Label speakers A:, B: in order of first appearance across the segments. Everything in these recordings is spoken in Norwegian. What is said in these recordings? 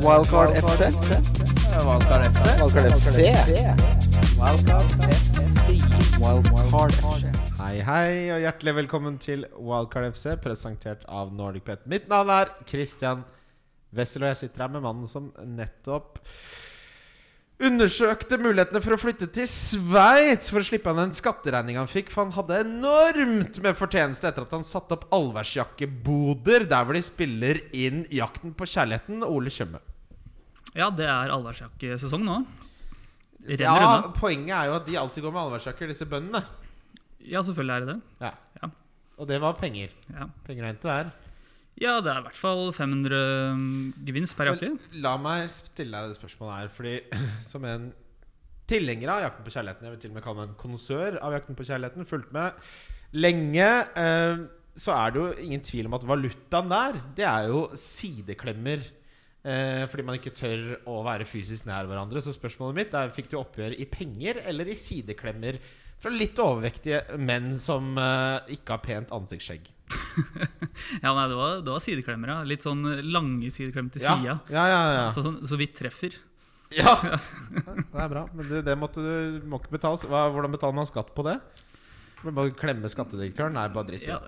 A: Wildcard FC.
B: Valgkar FC.
A: Wildcard FC. Wildcard FC.
C: Hei, hei, og hjertelig velkommen til Wildcard FC, presentert av Nordic Pet. Mitt navn er Christian Wessel, og jeg sitter her med mannen som nettopp undersøkte mulighetene for å flytte til Sveits for å slippe han den skatteregninga han fikk, for han hadde enormt med fortjeneste etter at han satte opp allværsjakkeboder der hvor de spiller inn Jakten på kjærligheten, Ole Tjøme.
D: Ja, det er allværsjakkesesong nå. Renner
C: Ja,
D: unna.
C: poenget er jo at de alltid går med allværsjakker, disse bøndene.
D: Ja, selvfølgelig er det det.
C: Ja.
D: Ja.
C: Og det var penger.
D: Ja,
C: Penger å hente der.
D: ja det er i hvert fall 500 gevinst per jakke.
C: Men La meg stille deg det spørsmålet her, fordi som en tilhenger av Jakten på kjærligheten, jeg vil til og med kalle meg en konsør av Jakten på kjærligheten, fulgt med lenge, eh, så er det jo ingen tvil om at valutaen der, det er jo sideklemmer. eh, Fordi man ikke tør å være fysisk nær hverandre. Så spørsmålet mitt er fikk du oppgjør i penger eller i sideklemmer fra litt overvektige menn som eh, ikke har pent ansiktsskjegg?
D: Ja, nei, det var, det var sideklemmer, ja. Litt sånn lange sideklemmer til
C: Ja,
D: sida.
C: ja, ja, ja.
D: Så, sånn- så vidt treffer.
C: Ja! Det er bra. Men du, det måtte du må ikke betales. Hva, hvordan betaler man skatt på det? Må du Bare klemme skattedirektøren? Nei, bare dritt. i
D: Ja.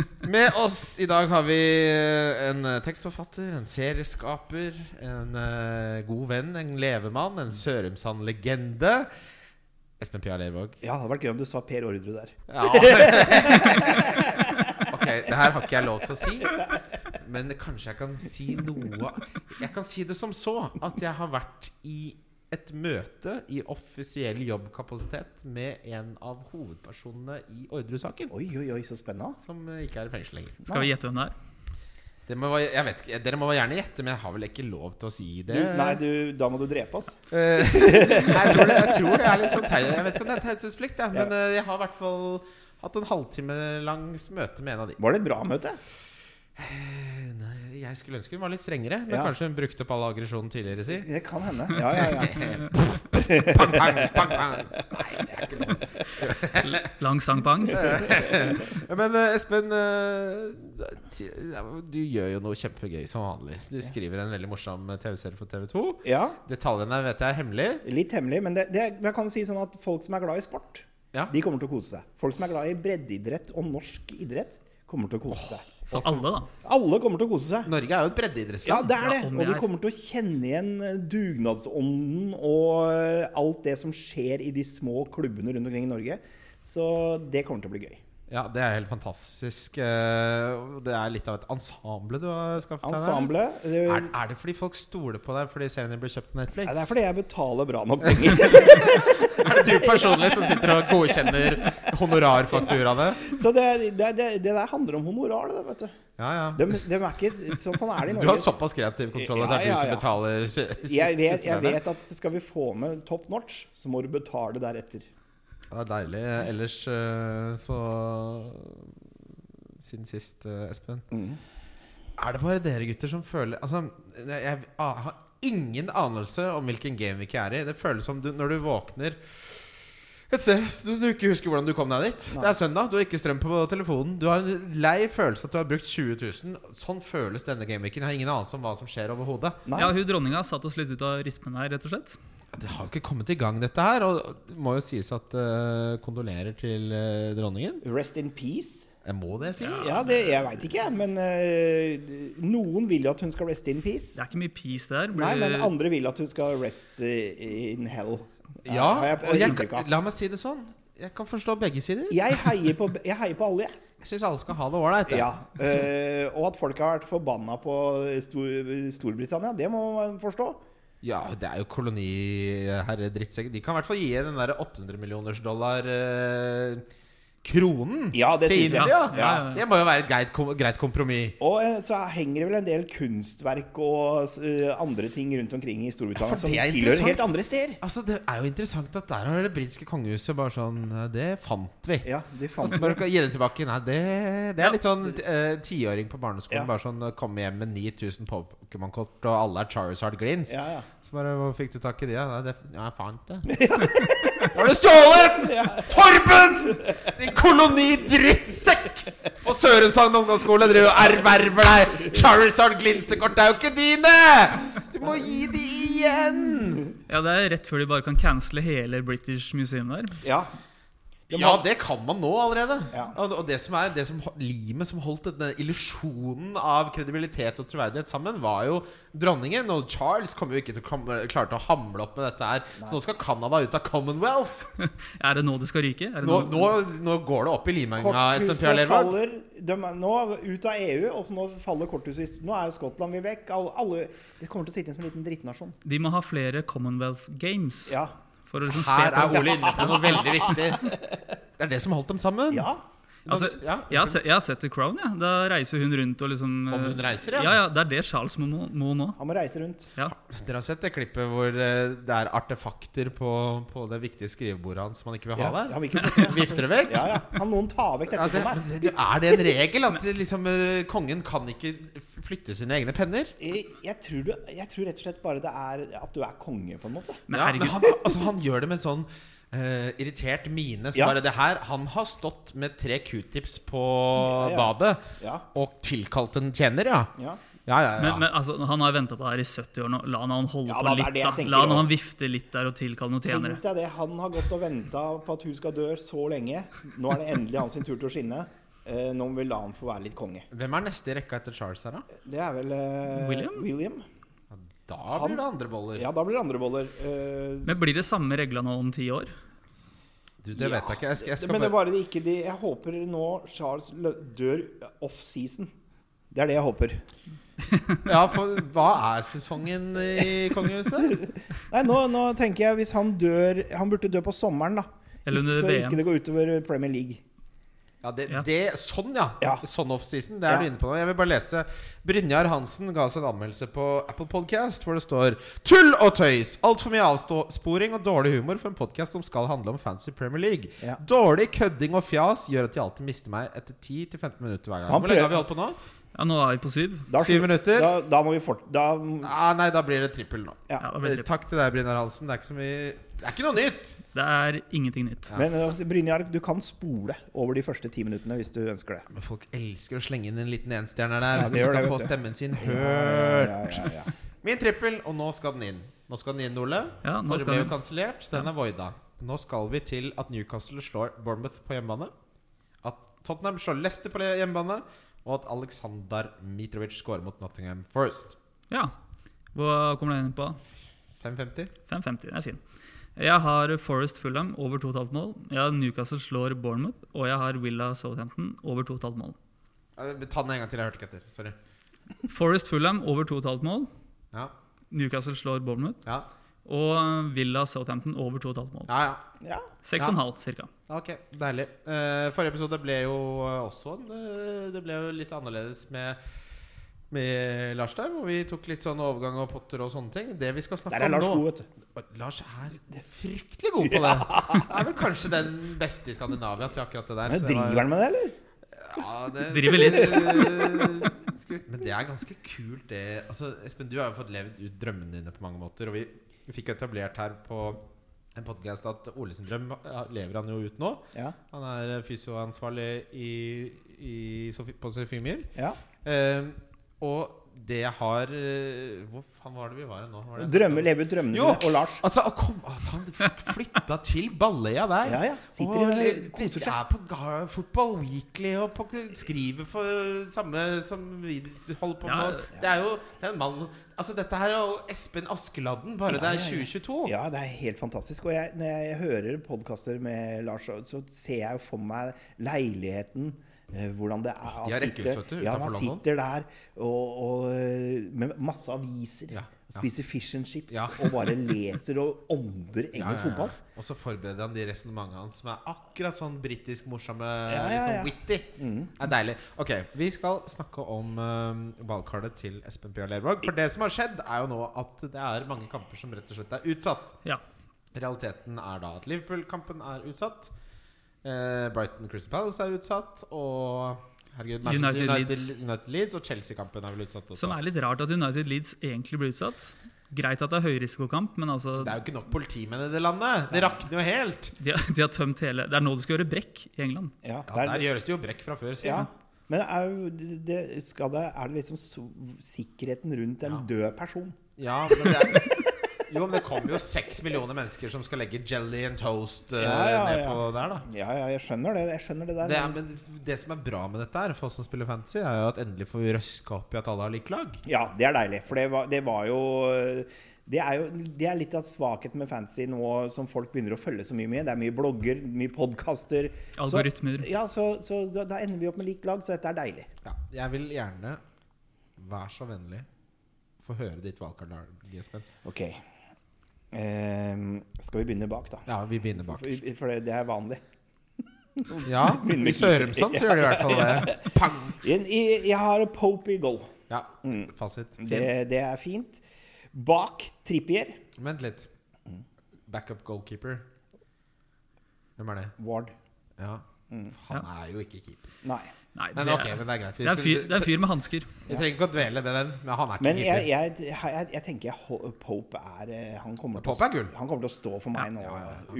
C: det. Med oss i dag har vi eh, en eh, tekstforfatter, en serieskaper, en eh, god venn, en levemann, en Sørumsand-legende. Espen Pia Lervåg.
A: Ja, det hadde vært gøy om du sa Per Ordre der.
C: Ja. ok, det her har ikke jeg lov til å si. Men kanskje jeg kan si noe Jeg kan si det som så at jeg har vært i et møte i offisiell jobbkapasitet med en av hovedpersonene i Ordre-saken.
A: Oi, oi, oi, så spennende.
C: Som ikke er i fengsel lenger.
D: Skal vi gjette hvem det er?
C: Det må, være- jeg vet, ikke- dere må gjerne gjette, men jeg har vel ikke lov til å si
A: Du,
C: det.
A: nei, du, da må du drepe oss.
C: Eh, jeg, tror det, jeg tror det er litt sånn tei- Jeg vet ikke om det er taushetsplikt, jeg, men eh, jeg har i hvert fall hatt en halvtime langs møte med en av de.
A: Var det et bra møte?
C: Eh, Nei, Jeg skulle ønske hun var litt strengere, men
A: Ja.
C: kanskje hun brukte opp all aggresjonen tidligere, si.
A: Det kan hende. Ja, ja, ja.
C: Pang, pang, pang, pang. Nei, det er ikke lov.
D: Lang sangpang.
C: Men eh, Espen, eh, ti- du gjør jo noe kjempegøy som vanlig. Du skriver en veldig morsom TV-serie for TV2.
A: ja.
C: Detaljene vet jeg er hemmelig.
A: Litt hemmelig, men det, det, men jeg kan si sånn at folk som er glad i sport,
C: Ja.
A: de kommer til å kose seg. Folk som er glad i breddeidrett og norsk idrett, kommer til å kose seg.
D: Så alle, da.
A: Alle kommer til å kose seg.
C: Norge er jo et
A: Ja,
C: breddeidrettsland.
A: det er det.
D: Ja, om
A: Og
D: vi
A: du
D: er.
A: kommer til å kjenne igjen eh, dugnadsånden og eh, alt det som skjer i de små klubbene rundt omkring i Norge. Så det kommer til å bli gøy.
C: Ja, det er helt fantastisk. eh, og Det er litt av et ensemble du har skaffet deg. der.
A: Ensemble det,
C: Er, er det fordi folk stoler på deg fordi serien din ble kjøpt på Netflix?
A: Nei, Det er fordi jeg betaler bra nok penger.
C: Er det du personlig som sitter og godkjenner honorarfakturaene?
A: Så det, det, det, det der handler om honorar, det, vet du.
C: Ja, ja.
A: Dem- dem er ikke, så, sånn er det i
C: Du
A: Norge.
C: har såpass kreativ kontroll at det er
A: Ja,
C: du
A: ja,
C: som
A: ja.
C: betaler s-
A: jeg, vet, jeg
C: skuespillerne.
A: vet at skal vi få med top notch, så må du betale deretter.
C: Ja, Det er deilig. Ellers eh, så Siden sist, eh, Espen. Er det bare dere gutter som føler Altså, jeg, jeg har ingen anelse om hvilken game vi ikke er i. Det føles som du, når du våkner et sted du, du ikke husker hvordan du kom deg dit. Det er søndag, du har ikke strøm på telefonen. Du har en lei følelse at du har brukt 20 000. Sånn føles denne gameweeken. Jeg har ingen anelse om hva som skjer overhodet.
A: Nei.
D: Ja, hun dronninga satte oss litt ut av rytmen her, rett og slett.
C: Det har jo ikke kommet i gang, dette her. Og det må jo sies at eh, kondolerer til eh, dronningen.
A: Rest in peace.
C: Eh, Må det sies?
A: Ja, det, jeg veit ikke, jeg, men eh, noen vil jo at hun skal rest in
D: Det
A: peace.
D: er ikke mye peace det her.
A: Nei,
D: Blir-
A: men andre vil at hun skal rest eh, in hell.
C: Ja,
A: har jeg,
C: og jeg,
A: inntrykk av.
C: la meg si det sånn. Jeg kan forstå begge sider.
A: jeg, heier på, jeg heier på alle, jeg.
C: Jeg syns alle skal ha det ålreit. jeg.
A: Ja, eh, og at folk har vært forbanna på Stor Storbritannia, det må man forstå.
C: ja, det er jo koloniherredrittsekker. De kan i hvert fall gi den der 800 millioners dollar eh, kronen
A: Ja, det
C: til
A: synes jeg.
C: India.
D: Ja, ja, ja.
C: Det må jo være et greit, kom- greit kompromiss.
A: Og eh, så henger det vel en del kunstverk og eh, andre ting rundt omkring i
C: Ja,
A: Storbritannia
C: for
A: som
C: det er
A: tilhører
C: interessant.
A: helt andre steder.
C: Altså, Det er jo interessant at der har det britiske kongehuset bare sånn eh, Det fant vi.
A: Ja, de
C: Og
A: fant
C: så
A: det.
C: bare kan gi det tilbake. Nei, det, det
D: Ja.
C: er litt sånn eh, tiåring på barneskolen.
A: Ja.
C: Bare sånn eh, Komme hjem med 9000 Pokémon-kort, og alle er Charizard Glins.
A: Ja, ja.
C: Så bare Hvor fikk du tak i de? da? Nei, det, ja, jeg fant det. Var det stjålet?! Torben! Din kolonidrittsekk! På Sørumsand ungdomsskole driver og erverver deg Charizard Glinsekort. Det er jo ikke dine! Du Du må gi de igjen!
D: Ja, Det er rett før de bare kan cancele hele British Museum der.
A: Ja. De
C: Ja,
A: har-
C: det kan man nå allerede.
A: Ja.
C: Og og det som er det som, limet som holdt denne illusjonen av kredibilitet og troverdighet sammen, var jo dronningen. Og Charles kom jo ikke til å komme, klarte å hamle opp med dette her. Så nå skal Canada ut av Commonwealth.
D: Er det nå det skal ryke? Er det
C: Nå, nå, nå går det opp i limenga, Espen Pia
A: Korthuset
C: Lervard.
A: faller de er nå ut av EU, og så nå faller korthuset i Nå er Skottland vi vekk. Alle, alle, det kommer til å sitte igjen som en liten drittnasjon.
D: De må ha flere Commonwealth Games.
A: Ja.
D: For å liksom spe
C: Her
D: på
C: er Ole inne på noe veldig viktig. Det er det som holdt dem sammen.
A: ja.
D: Altså,
C: Ja.
D: jeg, har sett, jeg har sett The Crown. Ja. Da reiser hun rundt og liksom
C: Om hun
D: eh,
C: reiser, ja.
D: ja, ja Det er det Charles må, må- må nå.
A: Han må reise rundt.
D: Ja.
C: Dere har sett det klippet hvor eh, det er artefakter på, på det viktige skrivebordet hans som han ikke vil ha
A: Ja,
C: der?
A: han vil ikke,
C: Vifter det vekk?
A: ja, ja. Kan noen ta vekk
C: Ja,
A: dette
C: det,
A: for meg?
C: men det- er det en regel at liksom, eh, kongen kan ikke f- flytte sine egne penner?
A: Jeg, jeg, tror du, jeg tror rett og slett bare det er at du er konge, på en måte.
D: Men
C: ja, men
D: herregud,
C: han, altså, han gjør det med en sånn eh, irritert mine. Som
A: Ja.
C: bare det her Han har stått med tre q-tips på
A: Ja, ja.
C: badet
A: Ja.
C: og tilkalt en tjener, ja.
A: Ja.
C: Ja, ja, ja.
D: men, men, altså, han har venta på det her i 70 år nå. La han, han holde
A: Ja, da,
D: på
A: det er
D: litt,
A: det jeg
D: da.
A: tenker
D: La han,
A: også.
D: han vifte litt der og tilkalle noen tjenere.
A: Tenk deg det. Han har gått og venta på at hun skal dø så lenge. Nå er det endelig hans sin tur til å skinne. Eh, nå vil la han få være litt konge.
C: Hvem er neste i rekka etter Charles her, da?
A: Det er vel eh,
D: William?
A: William.
C: Da
A: Han-
C: blir det andre boller.
A: Ja, da blir det andre boller. Eh,
D: Men blir det samme regla nå om ti år?
C: Du, det vet jeg ikke. Jeg skal, jeg skal
A: men det er
C: bare...
A: bare det ikke de, Jeg håper nå Charles lø- dør off-season. Det er det jeg håper.
C: Ja, for hva er sesongen i kongehuset?
A: Nei, nå, nå tenker jeg hvis han dør Han burde dø på sommeren, da.
D: Eller under
A: så
D: VM?
A: ikke det går utover Premier League.
C: Ja, det,
D: Ja.
C: det, sånn, ja.
A: Ja.
C: Sånn offseason. Det er
A: Ja.
C: du inne på nå. Jeg vil bare lese. Brynjar Hansen ga oss en anmeldelse på Apple Podcast hvor det står Tull og tøys! Altfor mye avsporing og dårlig humor for en podkast som skal handle om fancy Premier League.
A: Ja.
C: Dårlig kødding og fjas gjør at de alltid mister meg etter 10-15 minutter hver gang.
A: Så han
C: Hvor lenge
A: prøver-
C: har vi holdt på nå?
D: Ja, nå er vi på syv.
A: Da,
C: Syv minutter.
A: Da, da må vi fort... Da,
C: Ah, nei, da blir det trippel nå.
A: ja.
D: Ja, da blir det trippel.
C: Eh, Takk til deg, Brynjar Hansen. Det er ikke så mye Det er ikke noe nytt!
D: Det er ingenting nytt.
A: Men altså, Brynjar, du kan spole over de første ti minuttene hvis du ønsker det.
C: Men folk elsker å slenge inn en liten enstjerner der.
A: Ja, det
C: at de
A: gjør
C: skal
A: det,
C: få
A: vet du.
C: stemmen sin
A: Ja,
C: hørt.
A: ja, ja.
C: Min trippel, og nå skal den inn. Nå skal den inn, Ole.
D: Ja, nå
C: Forrige
D: skal
C: ble jo
D: den-
C: kansellert. så Den er voida. Nå skal vi til at Newcastle slår Bournemouth på hjemmebane. At Tottenham slår Leicester på hjemmebane. Og at Aleksandar Mitrovic scorer mot Nottingham First.
D: Ja. Hva kommer det inn på?
C: 5.50.
D: 5,50. Det er fin. Jeg har Forest Fulham over 2,5 mål. Jeg har Newcastle slår Bournemouth. Og jeg har Villa Southampton over 2,5 mål.
C: Eh, Ta den en gang til. Jeg hørte ikke etter. Sorry.
D: Forest Fulham over 2,5 mål.
C: Ja,
D: Newcastle slår Bournemouth.
C: ja,
D: Og Villa Southampton over 2,5 mål.
C: ja. ja.
A: ja.
D: 6,5 cirka
C: Ok, deilig. Eh, forrige episode ble jo eh, også en, eh, Det ble jo litt annerledes med, med Lars der, hvor vi tok litt sånn overgang og potter og sånne ting. Det vi skal snakke
A: Der er
C: om
A: Lars
C: nå
A: god, vet du.
C: Lars er fryktelig god på det. Er vel kanskje den beste i Skandinavia til akkurat det der.
A: Men
C: så det var-
A: driver han med det, eller?
C: ja, det,
D: Driver litt.
C: Eh, skru- Men det er ganske kult, det. Altså, Espen, du har jo fått levd ut drømmene dine på mange måter. Og vi, vi fikk jo etablert her på en podkast at Ole sin drøm ja, lever han jo ut nå.
A: Ja.
C: Han er eh, fysioansvarlig i, i, Sofi- på Sofiemyr.
A: ja.
C: Eh, og det jeg har eh, Hvor faen var det vi var hen nå? Var det-
A: Drømmer, leve ut drømmene
C: Jo!
A: dine. Og Lars.
C: Altså, å kom, at han f- flytta til Balløya der.
A: Ja, ja. Sitter
C: og
A: i den der,
C: le-
A: koser seg.
C: Er på Ga- Football Weekly og på, skriver for samme som vi holder på med.
D: Ja.
C: nå. Det er jo det er en mann Altså, dette her er jo Espen Askeladden, bare det er 2022.
A: Ja, det er helt fantastisk. Og jeg, når jeg hører podkaster med Lars, så- så ser jeg jo for meg leiligheten. eh, Hvordan det er. Han sitter-
C: har rekkehus, vet du,
A: Ja,
C: utenfor
A: man
C: London.
A: sitter der og, og, eh, med masse aviser.
C: Ja,
A: og
C: ja.
A: Spiser fish and chips
C: Ja.
A: og bare leser og ånder engelsk
C: Ja, ja, ja.
A: fotball.
C: Eh, Og så forbereder han de resonnementene hans som er akkurat sånn britisk morsomme,
A: ja, ja. Mm.
C: Sånn witty. Det er deilig. Ok, vi skal snakke om uh, valgkartet til Espen Pia Lervåg. For det som har skjedd, er jo nå at det er mange kamper som rett og slett er utsatt.
D: Ja.
C: Realiteten er da at Liverpool-kampen er utsatt. eh, Brighton Crystal Palace er utsatt. Og herregud, Manchester
D: United
C: United,
D: Leeds.
C: United, Leeds og Chelsea-kampen er vel utsatt også.
D: Som er litt rart at United Leeds egentlig ble utsatt. Greit at det er høyrisikokamp, men altså
C: Det er jo ikke nok politimenn i det landet! Det rakner jo helt!
D: de, har- de har tømt hele Det er nå du skal gjøre brekk i England.
A: Ja,
C: Ja, der gjøres det jo brekk fra før. sier
A: ja.
C: han.
A: Men er, jo- det, skal det, er det liksom so- sikkerheten rundt en død person?
C: Ja, men det er jo, men det kommer jo seks millioner mennesker som skal legge jelly and toast eh,
A: Ja, ja,
C: ned
A: ja.
C: på der, da.
A: Ja, ja, jeg skjønner det. Jeg skjønner det der.
C: Det, er, men det som er bra med dette, her for oss som spiller fantasy, er jo at endelig får vi røska opp i at alle har likt lag.
A: Ja, det er deilig. For det var, det var jo det er, jo, det er litt av svakheten med fancy nå som folk begynner å følge så mye med. Det er mye blogger, mye podkaster.
D: Algoritmer.
A: Så, ja, så, så da, da ender vi opp med likt lag, så dette er deilig.
C: Ja, jeg vil gjerne, vær så vennlig, få høre ditt valgkart, Lars Espen.
A: Ok. Ehm, skal vi begynne bak, da?
C: Ja, vi begynner bak.
A: For, for det, det er vanlig.
C: Ja, i Sørumsand så gjør de i hvert fall det. Pang!
A: Jeg, jeg, jeg har Pope i goal.
C: Ja, fasit.
A: Det, det er fint. Bak Trippier
C: Vent litt. Backup goalkeeper. Hvem er det?
A: Ward.
C: Ja. Han er jo ikke keeper.
A: Nei.
D: Nei, det
C: Men ok,
D: er,
C: men det er greit. Vi,
D: det er, fyr, det er fyr med hansker.
C: Vi trenger ikke å dvele ved den, men han er ikke
A: Men jeg,
C: keeper.
A: jeg, jeg, jeg tenker Ho- Pope er eh, Han kommer,
C: Pope er
A: til,
C: gull.
A: å, han kommer til å stå for meg nå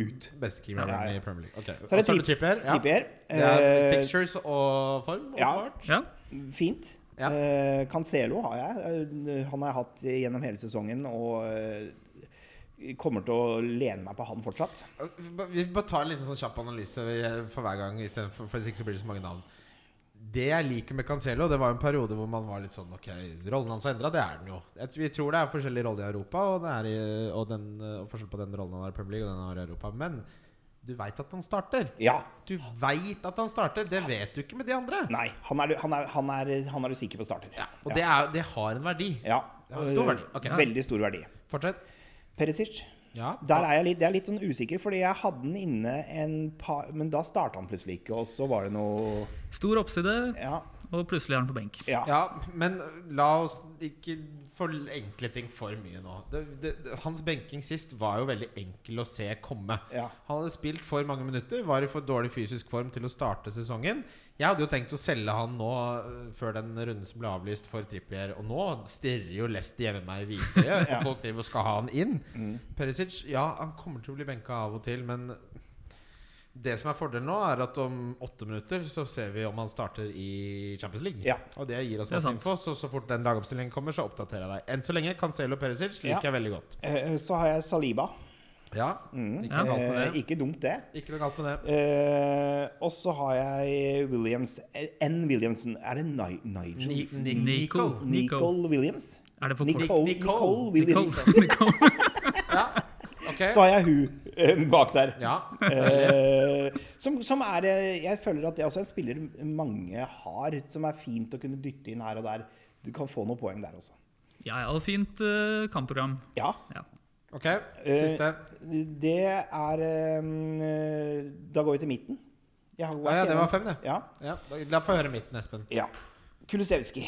A: ut.
C: Beste keeperen
A: Ja, ja.
C: i Premier League. Ok,
A: Så er det
C: og
A: Trip-
C: Trippier. Ja.
A: Trippier.
C: Det er
A: Eh,
C: pictures og form.
A: ja.
C: åpenbart.
D: Ja.
A: Fint.
C: Ja.
A: Eh, Cancelo har jeg. Eh, Han har jeg hatt gjennom hele sesongen og eh, kommer til å lene meg på han fortsatt.
C: Vi bare- Vi bare tar en liten sånn kjapp analyse vi- for hver gang, i stedet for, for hvis ikke så blir det så mange navn. Det jeg liker med Cancelo, det var en periode hvor man var litt sånn Ok, rollen hans er endra. Det er den jo. Jeg, vi tror det er forskjellige roller i Europa, og, det er i, og, den, eh, og forskjell på den rollen han har i Premier League og den han har i Europa. Men du veit at han starter.
A: Ja.
C: Du veit at han starter. Det vet du ikke med de andre.
A: Nei. Han er, du- han er, han er, han er du sikker på starter.
C: Ja, og Det, er, det har en verdi.
A: Ja.
C: Det har en stor verdi. Ok.
A: Veldig stor verdi.
C: Fortsett.
A: Perisic.
C: Ja.
A: Der er jeg litt, jeg er litt sånn usikker, fordi jeg hadde den inne en par Men da starta han plutselig ikke, og så var det noe
D: Stor oppside,
A: Ja.
D: og plutselig er han på benk.
A: ja.
C: Ja, men la oss ikke forenkle ting for mye nå. Det, det, det- hans benking sist var jo veldig enkel å se komme.
A: Ja.
C: Han hadde spilt for mange minutter, var i for dårlig fysisk form til å starte sesongen. Jeg hadde jo tenkt å selge han nå øh, før den runden som ble avlyst for Trippier. Og nå stirrer jo Lest hjemme meg i hvite, og folk driver og skal ha han inn.
A: Mm.
C: Perisic, ja, han kommer til å bli benka av og til, men det som er fordelen nå, er at om åtte minutter så ser vi om han starter i Champions League.
A: Ja.
C: Og det gir oss
D: Det er
C: masse
D: sant.
C: info. Så så fort den lagoppstillingen kommer, så oppdaterer jeg deg. Enn så lenge Cancelo og Perisic liker
A: Ja.
C: jeg veldig godt. Mm.
A: Eh, Så har jeg Saliba.
C: Ja, ikke
D: Ja.
C: noe galt
A: Eh,
C: med det.
A: Ikke dumt, det.
C: Ikke noe galt med det.
A: Eh, og så har jeg Williams eh, N. Williamson. Er det Ni Nigel?
C: Eh, Ni, ni,
D: Nico.
C: Nico.
A: Nicole Williams?
D: Er det for kort?
A: Nicole,
C: Nicole.
A: Nicole
D: Nicole.
A: Williams.
D: Nicole.
C: Ja, ok.
A: Så har jeg hun eh, bak der.
C: Ja.
A: Eh, som, som er eh, Jeg føler at det også er en spiller mange har, som er fint å kunne dytte inn her og der. Du kan få noen poeng der også.
D: Ja, ja, og fint eh, kampprogram.
A: Ja.
D: Ja.
C: Ok, siste.
A: Det er eh, Da går vi til midten. Jeg har
C: Ja, ja, det var fem, det.
A: Ja.
C: Ja, da- la få høre midten, Espen.
A: ja. Kulusevski.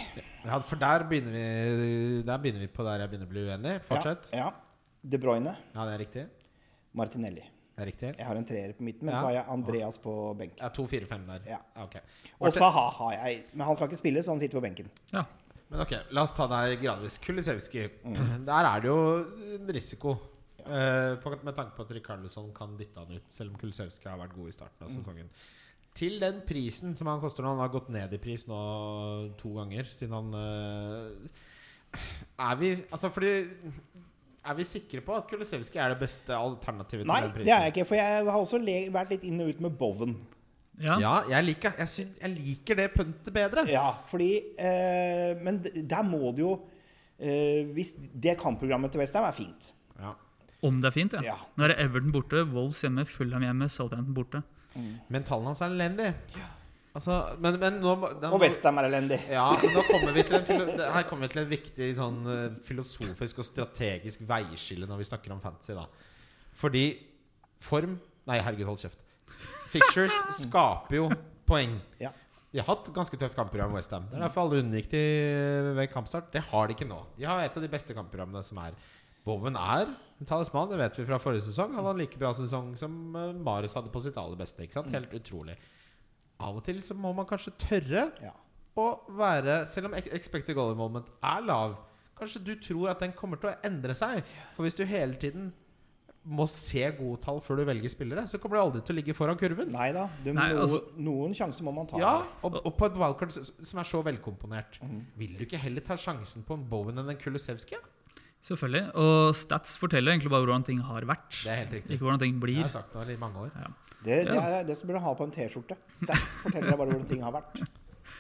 C: Ja, for der begynner vi Der begynner vi på der jeg begynner å bli uenig. Fortsett.
A: Ja, ja. De Bruyne.
C: Ja, det er riktig.
A: Martinelli.
C: Det er riktig.
A: Jeg har en treer på midten, men
C: Ja.
A: så har jeg Andreas på benken.
C: Ja, to, fire, fem der.
A: Ja.
C: ok.
A: Og Saha har jeg, men han skal ikke spille, så han sitter på benken.
D: ja.
C: Men ok, la oss ta deg gradvis. Kulisevski,
A: Mm.
C: der er det jo en risiko. eh, på, med tanke på at Rikarlisson kan dytte han ut, selv om Kulisevski har vært god i starten
A: Mm.
C: av sesongen. Til den prisen som han koster nå, han har gått ned i pris nå to ganger siden han eh, Er vi Altså, fordi Er vi sikre på at Kulisevski er det beste alternativet til
A: Nei,
C: den prisen?
A: det er jeg ikke, for jeg har også le vært litt inn og ut med Bowen.
D: ja.
C: Ja, jeg liker, jeg, syn- jeg liker det puntet bedre.
A: Ja, fordi eh, Men d- der må du jo eh, Hvis det kampprogrammet til Westham er fint
C: Ja.
D: Om det er fint, ja.
A: Ja.
D: Nå er det Everton borte, Wolves hjemme, Fulham hjemme, Southampton borte.
C: Men tallene hans er elendig. Altså, men, men nå må- da
A: Og
C: må-
A: Westham er elendig.
C: Ja, men nå kommer vi til en, filo- det- her kommer vi til en viktig sånn eh, filosofisk og strategisk veiskille når vi snakker om fantasy, da. Fordi form Nei, herregud, hold kjeft. Fictures skaper jo poeng.
A: Ja.
C: De har hatt ganske tøft kampprogram, Westham. Det er derfor alle unngikk de ved kampstart. Det har de ikke nå. De har et av de beste kampprogrammene som er. Bowen er en talisman, det vet vi fra forrige sesong. Han hadde like bra sesong som eh, Marius hadde på sitt aller beste. Ikke sant? Helt utrolig. Av og til så må man kanskje tørre
A: Ja.
C: å være Selv om ex- expected goal moment er lav, kanskje du tror at den kommer til å endre seg. For hvis du hele tiden må se gode tall før du velger spillere, så kommer du aldri til å ligge foran kurven.
A: Nei da. Du,
D: Nei,
A: no,
D: altså-
A: noen sjanser må man ta.
C: Ja, og, og på et Mhm. wildcard s- som er så velkomponert. Vil du ikke heller ta sjansen på en Bowen enn en Kulusevski?
D: Selvfølgelig. Og stats forteller egentlig bare hvordan ting har vært.
C: Det er helt riktig.
D: Ikke hvordan ting
C: Jeg
D: blir.
C: har sagt det i mange år.
A: Det, det
D: Ja.
A: er det som burde ha på en T-skjorte. Stats forteller deg bare hvordan ting har vært.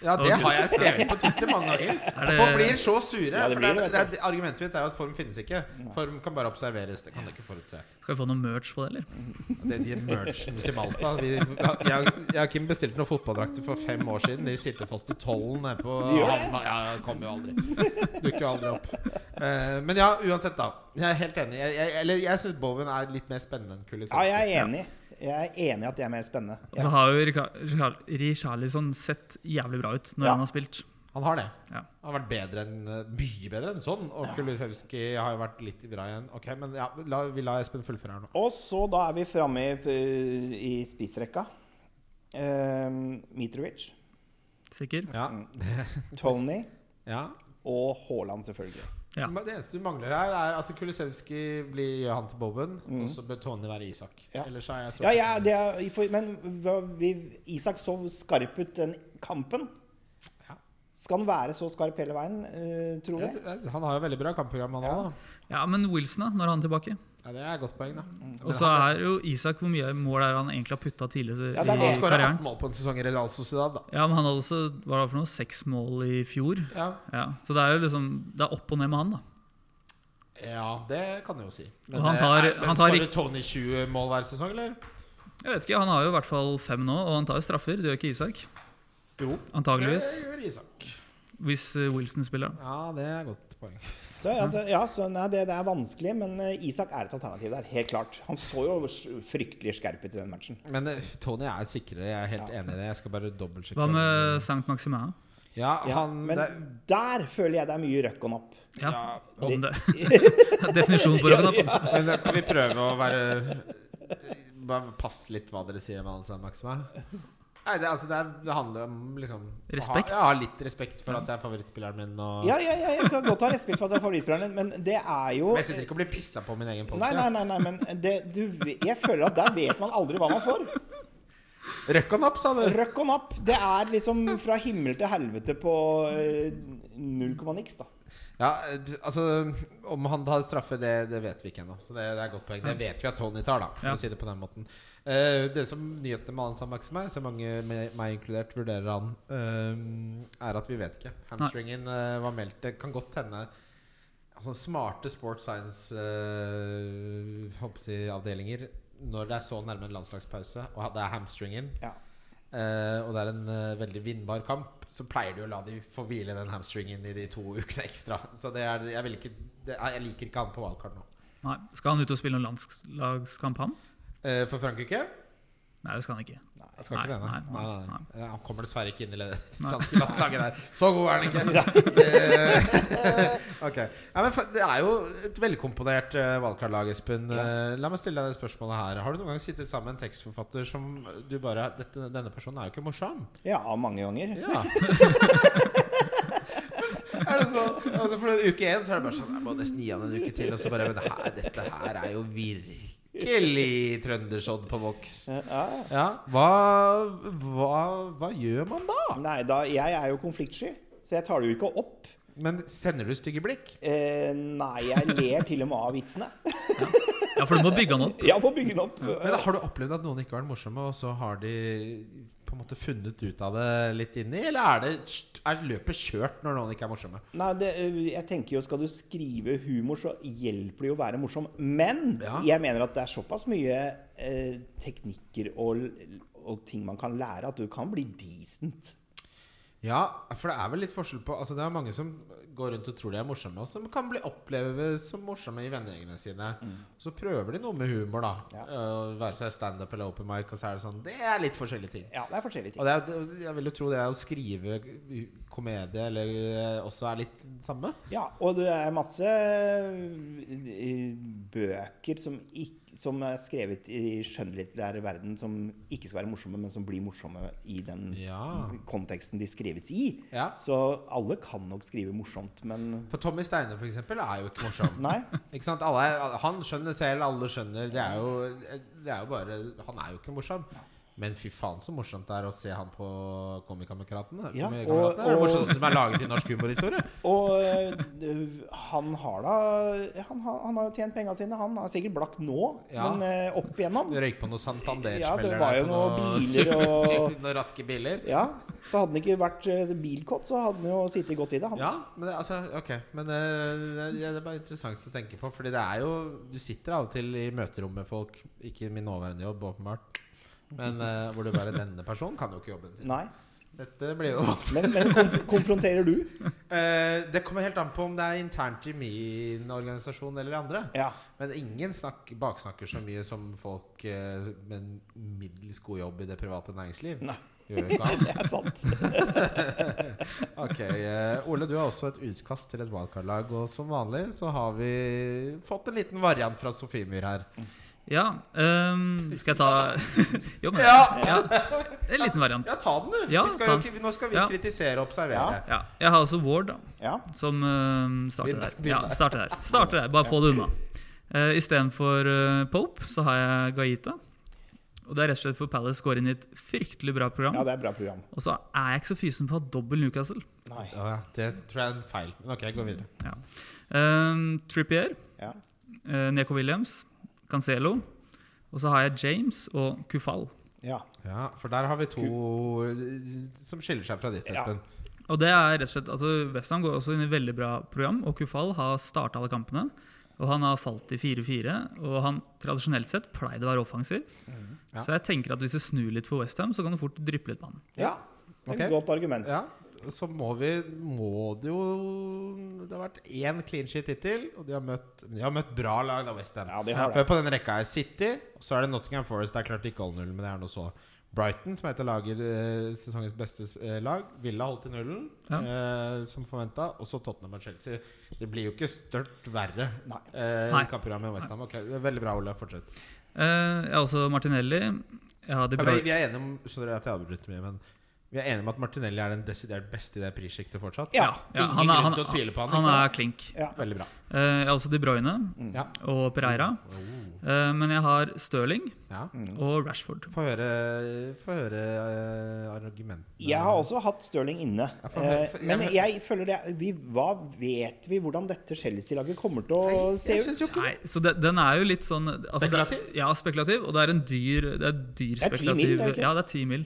C: Ja, det
D: Ok.
C: har jeg skrevet på Twitter mange ganger.
D: det-
C: Folk blir så sure.
A: Ja, det
C: for
A: blir
C: det
A: det,
C: er, det er, argumentet mitt er jo at form finnes ikke. Form kan bare observeres. Det kan du ikke forutse.
D: Skal vi få noe merch på det, eller?
C: Det er de merchen til Malta vi, jeg, jeg og Kim bestilte noen fotballdrakter for fem år siden. De sitter fast i tollen nede på
A: De gjør det?
C: havna. Ja, ja, det kommer jo aldri. Dukker jo aldri opp. Eh, men ja, uansett, da. Jeg er helt enig. Jeg, jeg, eller jeg syns Bowen er litt mer spennende enn Kulisevskij.
A: Ja, jeg er enig. Jeg er enig i at det er mer spennende.
D: Og så har jo Rika- Rika- Richarlison sett jævlig bra ut når
A: Ja.
D: han har spilt.
C: Han har det.
D: Ja.
C: Han har vært bedre enn, mye bedre enn sånn. Og Kulisevskij har jo vært litt bra igjen. Ok, Men ja, la, vi lar Espen fullføre her nå.
A: Og så da er vi framme i, eh, i spissrekka. Ehm, Mitrovic,
D: Sikker?
C: Ja.
A: Mm. Tony
C: ja.
A: og Haaland, selvfølgelig.
D: Ja.
C: Men Det eneste du mangler her, er altså Kulisevskij blir gjør han til Boben. Og så bør Tony være Isak.
A: Mm. Ja.
C: Ellers er jeg
A: Ja, ja, det er, for, men hva- vi, Isak så skarp ut den kampen.
C: Ja.
A: Skal han være så skarp hele veien, eh, tror vi?
C: Jeg- Han har jo veldig bra kampprogram, han òg.
D: ja, men Wilson, da? Når er han tilbake?
C: Ja. det er et godt poeng, da.
D: Og så er jo Isak hvor mye mål er han egentlig har putta tidligere
A: Ja, det er
D: i
A: det.
C: Han skåra
D: karrieren?
C: 18 mål på en sesong i Real Sociedad, da.
D: Ja, men han hadde også hva var det for noe, seks mål i fjor.
C: Ja,
D: Ja, så det er jo liksom Det er opp og ned med han, da.
C: ja det kan du jo si.
D: Og han
C: det
D: tar-
C: er, men
D: han tar
C: skårer
D: ikke-
C: Tony 20 mål hver sesong, eller?
D: Jeg vet ikke, Han har jo i hvert fall fem nå, og han tar jo straffer. Det gjør ikke Isak.
C: Jo.
D: Antageligvis.
C: Det gjør Isak.
D: Hvis eh, Wilson spiller. da.
C: Ja, det er et godt poeng.
A: Så, ja, så, ja, så nei, det, det er vanskelig, men eh, Isak er et alternativ der. Helt klart. Han så jo s- fryktelig skarp ut i den matchen.
C: Men eh, Tony er sikrere, jeg er helt enig i det. Jeg skal bare dobbeltsjekke.
D: Hva
C: om-
D: med Sankt Maximin?
C: Ja,
A: Ja,
C: han
A: men
C: det,
A: der føler jeg det er mye røkken opp.
D: Ja,
C: ja.
D: om det. Definisjonen på Robin Hopp.
C: Men da kan vi prøve å være Bare pass litt hva dere sier om Alsa Maxima. Nei, det, altså, det, er, det handler om liksom å
D: Respekt.
C: Ha, ja, litt respekt for at det er favorittspilleren min. Og,
A: Ja, ja, ja, jeg kan godt ha respekt for at det er favorittspilleren din, men det er jo
C: Men jeg sitter ikke og blir pissa på min egen
A: Nei, nei,
C: podkast.
A: nei, nei men det, du, jeg føler at der vet man aldri hva man får.
C: Røkk han opp, sa du.
A: Røkk og napp. Det er liksom fra himmel til helvete på eh, null komma niks, da.
C: Ja, du- altså Om han tar straffe, det, det vet vi ikke ennå. Så det, det er et godt poeng. Det vet vi at Tony tar, da, for
D: Ja.
C: å si det på den måten. Eh, det som nyhetene med Alsa Maxima, så mange med meg inkludert vurderer han, eh, er at vi vet ikke. Hamstringen eh, var meldt. Det kan godt hende altså, smarte sports eh, science-avdelinger når det er så nærme en landslagspause, og det er hamstringen,
A: Ja.
C: eh, og det er en eh, veldig vinnbar kamp, så pleier de å la de få hvile den hamstringen i de to ukene ekstra. Så det er, jeg, vil ikke, det er, jeg liker ikke han på wildcard nå.
D: Nei, Skal han ut og spille noen landslagskamp, han?
C: Eh, for Frankrike
D: Nei, det skal han ikke.
C: jeg skal ikke
D: Nei,
C: det, nei.
D: nei,
C: Nei, nei,
D: nei.
C: Eh, Han kommer dessverre ikke inn i det
D: Nei.
C: franske landslaget der. Så god er han ikke! Eh, ok. Nei, men fa- det er jo et velkomponert uh, valgkartlag, Espen. Eh, la meg stille deg det spørsmålet her. Har du noen gang sittet sammen med en tekstforfatter som du bare dette, Denne personen er jo ikke morsom.
A: ja, mange ganger.
C: Ja. er det sånn, altså for en uke igjen så er det bare sånn Jeg må nesten gi han en uke til. Og så bare men det her, Dette her er jo virkelig trøndersodd på voks.
A: Ja, ja.
C: Ja, hva, hva, hva gjør man da?
A: Nei, da, jeg er jo konfliktsky, så jeg tar det jo ikke opp.
C: Men sender du stygge blikk?
A: Eh, nei, jeg ler til og med av vitsene.
D: Ja, For du må bygge han opp.
A: Jeg må bygge den opp.
C: Men Har du opplevd at noen ikke har vært morsomme, og så har de på en måte funnet ut av det litt inni? Eller er, det, er løpet kjørt når noen ikke er morsomme?
A: Nei, det, eh, jeg tenker jo Skal du skrive humor, så hjelper det jo å være morsom. Men
C: Ja.
A: jeg mener at det er såpass mye eh, teknikker og, og ting man kan lære, at du kan bli decent.
C: Ja, for det er vel litt forskjell på Altså Det er mange som går rundt og tror de er morsomme, og som kan bli oppleves som morsomme i vennegjengene sine. Så prøver de noe med humor, da.
A: Ja.
C: Øh, være seg standup eller open mic, og så er det sånn Det er litt forskjellige ting.
A: Ja, det er forskjellige ting.
C: Og det er, det- jeg vil jo tro det er å skrive komedie eller eh, også er litt samme.
A: Ja, og det er masse eh, bøker som, ikk- som er skrevet i skjønnlitterær verden som ikke skal være morsomme, men som blir morsomme i den
C: Ja.
A: konteksten de skrives i.
C: Ja.
A: Så alle kan nok skrive morsomt, men
C: For Tommy Steine, for eksempel, er jo ikke morsom.
A: nei.
C: Ikke sant? Alle, er- han skjønner selv, alle skjønner. Det er jo, det er jo bare Han er jo ikke morsom. Men fy faen så morsomt det er å se han på Komikameratene.
A: Ja,
C: Komikameratene.
A: og-
C: det er det
A: og-
C: morsomste som er laget i norsk humorhistorie.
A: Og eh, han har da Han, har- han har jo tjent penga sine. Han er sikkert blakk nå,
C: Ja.
A: men eh, opp igjennom
C: Røyk på noe Santander-smeller
A: Ja, det
C: der,
A: var jo
C: på
A: noe biler
C: sykt-
A: og-
C: sykt- Noen raske biler.
A: Ja, Så hadde han ikke vært eh, bilkåt, så hadde han jo sittet godt i det. Han.
C: Ja, men det, altså, ok Men eh, det, det er bare interessant å tenke på Fordi det er jo Du sitter av og til i møterom med folk Ikke i min nåværende jobb, åpenbart Men eh, hvor du bare Denne personen kan jo ikke jobben til
A: Nei.
C: Dette blir jo vanskelig
A: Men, men konf konfronterer du?
C: Eh, Det kommer helt an på om det er internt i min organisasjon Eller i andre
A: Ja.
C: Men ingen snakk, baksnakker så mye som folk eh, Med en middels god jobb i det private næringsliv
A: Nei.
C: Gjør jo ikke annet
A: Det er sant.
C: Ok, eh, Ole, du har også et utkast til et wildcard-lag. Og som vanlig så har vi fått en liten variant fra Sofiemyr her.
D: Ja, ehm, skal jeg ta Jo, men
C: Ja.
D: En liten variant.
C: Ja, ta den, du!
D: Ja,
C: vi skal
D: ta
C: jo
D: den.
C: ikke, nå skal vi
D: Ja.
C: kritisere og observere.
D: Ja, jeg har også Ward, da.
A: Ja.
D: Som eh, starter
C: Begynn-
D: der.
C: begynn
D: Ja, starter der. Starter der. Bare få det unna. Uh, Istedenfor uh, Pope så har jeg Gaita. Og det er rett og slett for Palace går inn i et fryktelig bra program.
A: ja, det er bra program.
D: Og så er jeg ikke så fysen på å ha dobbel Newcastle.
A: Nei.
C: Ja. det tror jeg er en feil. Men ok, gå videre.
D: Ja. Ehm, Trippier,
A: Ja.
D: eh, Neko Williams, Cancelo. Og så har jeg James og Kufal.
A: Ja.
C: Ja, For der har vi to eh, som skiller seg fra ditt,
A: Ja.
C: Espen.
D: Og det er rett og slett at Westham går også inn i et veldig bra program, og Kufal har starta alle kampene. Og han har falt i 4-4, og han tradisjonelt sett pleide å være offensiv.
C: ja.
D: Så jeg tenker at hvis det snur litt for Westham, så kan du fort dryppe litt på han.
A: ja. Det er
C: Ok.
A: et godt argument.
C: Ja. Så må vi Må det jo Det har vært én clean sheet hittil, og de har møtt, de har møtt bra lag, da, West Ham.
A: Ja, de har det.
C: Hør på den rekka her. City, og så er det Nottingham Forest. Det er klart de ikke holder nullen, men det er noe så. Brighton, som heter laget, eh, sesongens beste eh, lag, ville holdt i nullen,
D: Ja.
C: eh, som forventa. Og så Tottenham og Chelsea. Det blir jo ikke størt verre.
A: Nei.
C: Eh,
D: Nei.
C: Kampprogrammet i West Ham. Ok, det er veldig bra, Ole. Fortsett.
D: Eh, jeg har også Martinelli. Jeg har De
C: Ja, vi,
D: Bruyne.
C: vi er enige om Sorry at jeg avbryter mye, men vi er enige om at Martinelli er den desidert beste i det prissjiktet fortsatt.
A: Ja.
D: Ja,
C: Ingen
D: han, er,
C: grunn
D: han,
C: til å tvile på han,
D: han
C: ikke
D: er
C: sant?
D: klink.
A: Ja.
C: Veldig bra.
D: Eh, jeg har også De Bruyne
C: Ja.
D: og Pereira.
C: Mm.
D: Eh, men jeg har Stirling
C: ja.
D: og Rashford.
C: Få høre, få høre eh, argumentene.
A: Jeg har også hatt Stirling inne.
C: for- for-
A: Eh, Men
C: jeg-
A: jeg føler det vi, Hva vet vi hvordan dette Chelsea-laget kommer til å se
C: Jeg
A: ut?
C: syns jo ikke
D: Nei, så det, den er jo litt sånn altså, det-
C: Spekulativ?
D: Ja, spekulativ. Og det er en dyr, det er dyr
A: Det er 10 mil,
D: spekulativ
A: er det ikke? Mm.
D: Ja, det er ti mil.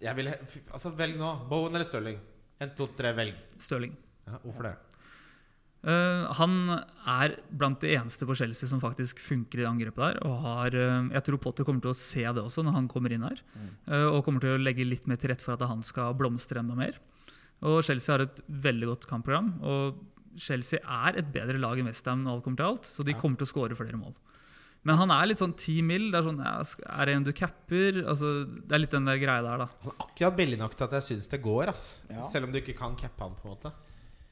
C: jeg vil, he- fy- altså, Velg nå. Bowen eller Stirling? En, to, tre, velg.
D: Stirling.
C: Ja, hvorfor det?
D: Eh, han er blant de eneste på Chelsea som faktisk funker i det angrepet der. Og har, eh, jeg tror Potter kommer til å se det også når han kommer inn her.
C: Mm.
D: eh, og kommer til å legge litt mer til rette for at han skal blomstre enda mer. Og Chelsea har et veldig godt kampprogram. Og Chelsea er et bedre lag enn Westham når alt kommer til alt, så de kommer til å skåre flere mål. Men han er litt sånn ti mil. Det er sånn, ja, sk- er det en du capper? Altså, det er litt den der greia der, da.
C: Han er akkurat billig nok til at jeg syns det går. Ass.
A: Ja.
C: Selv om du ikke kan cappe han. på en måte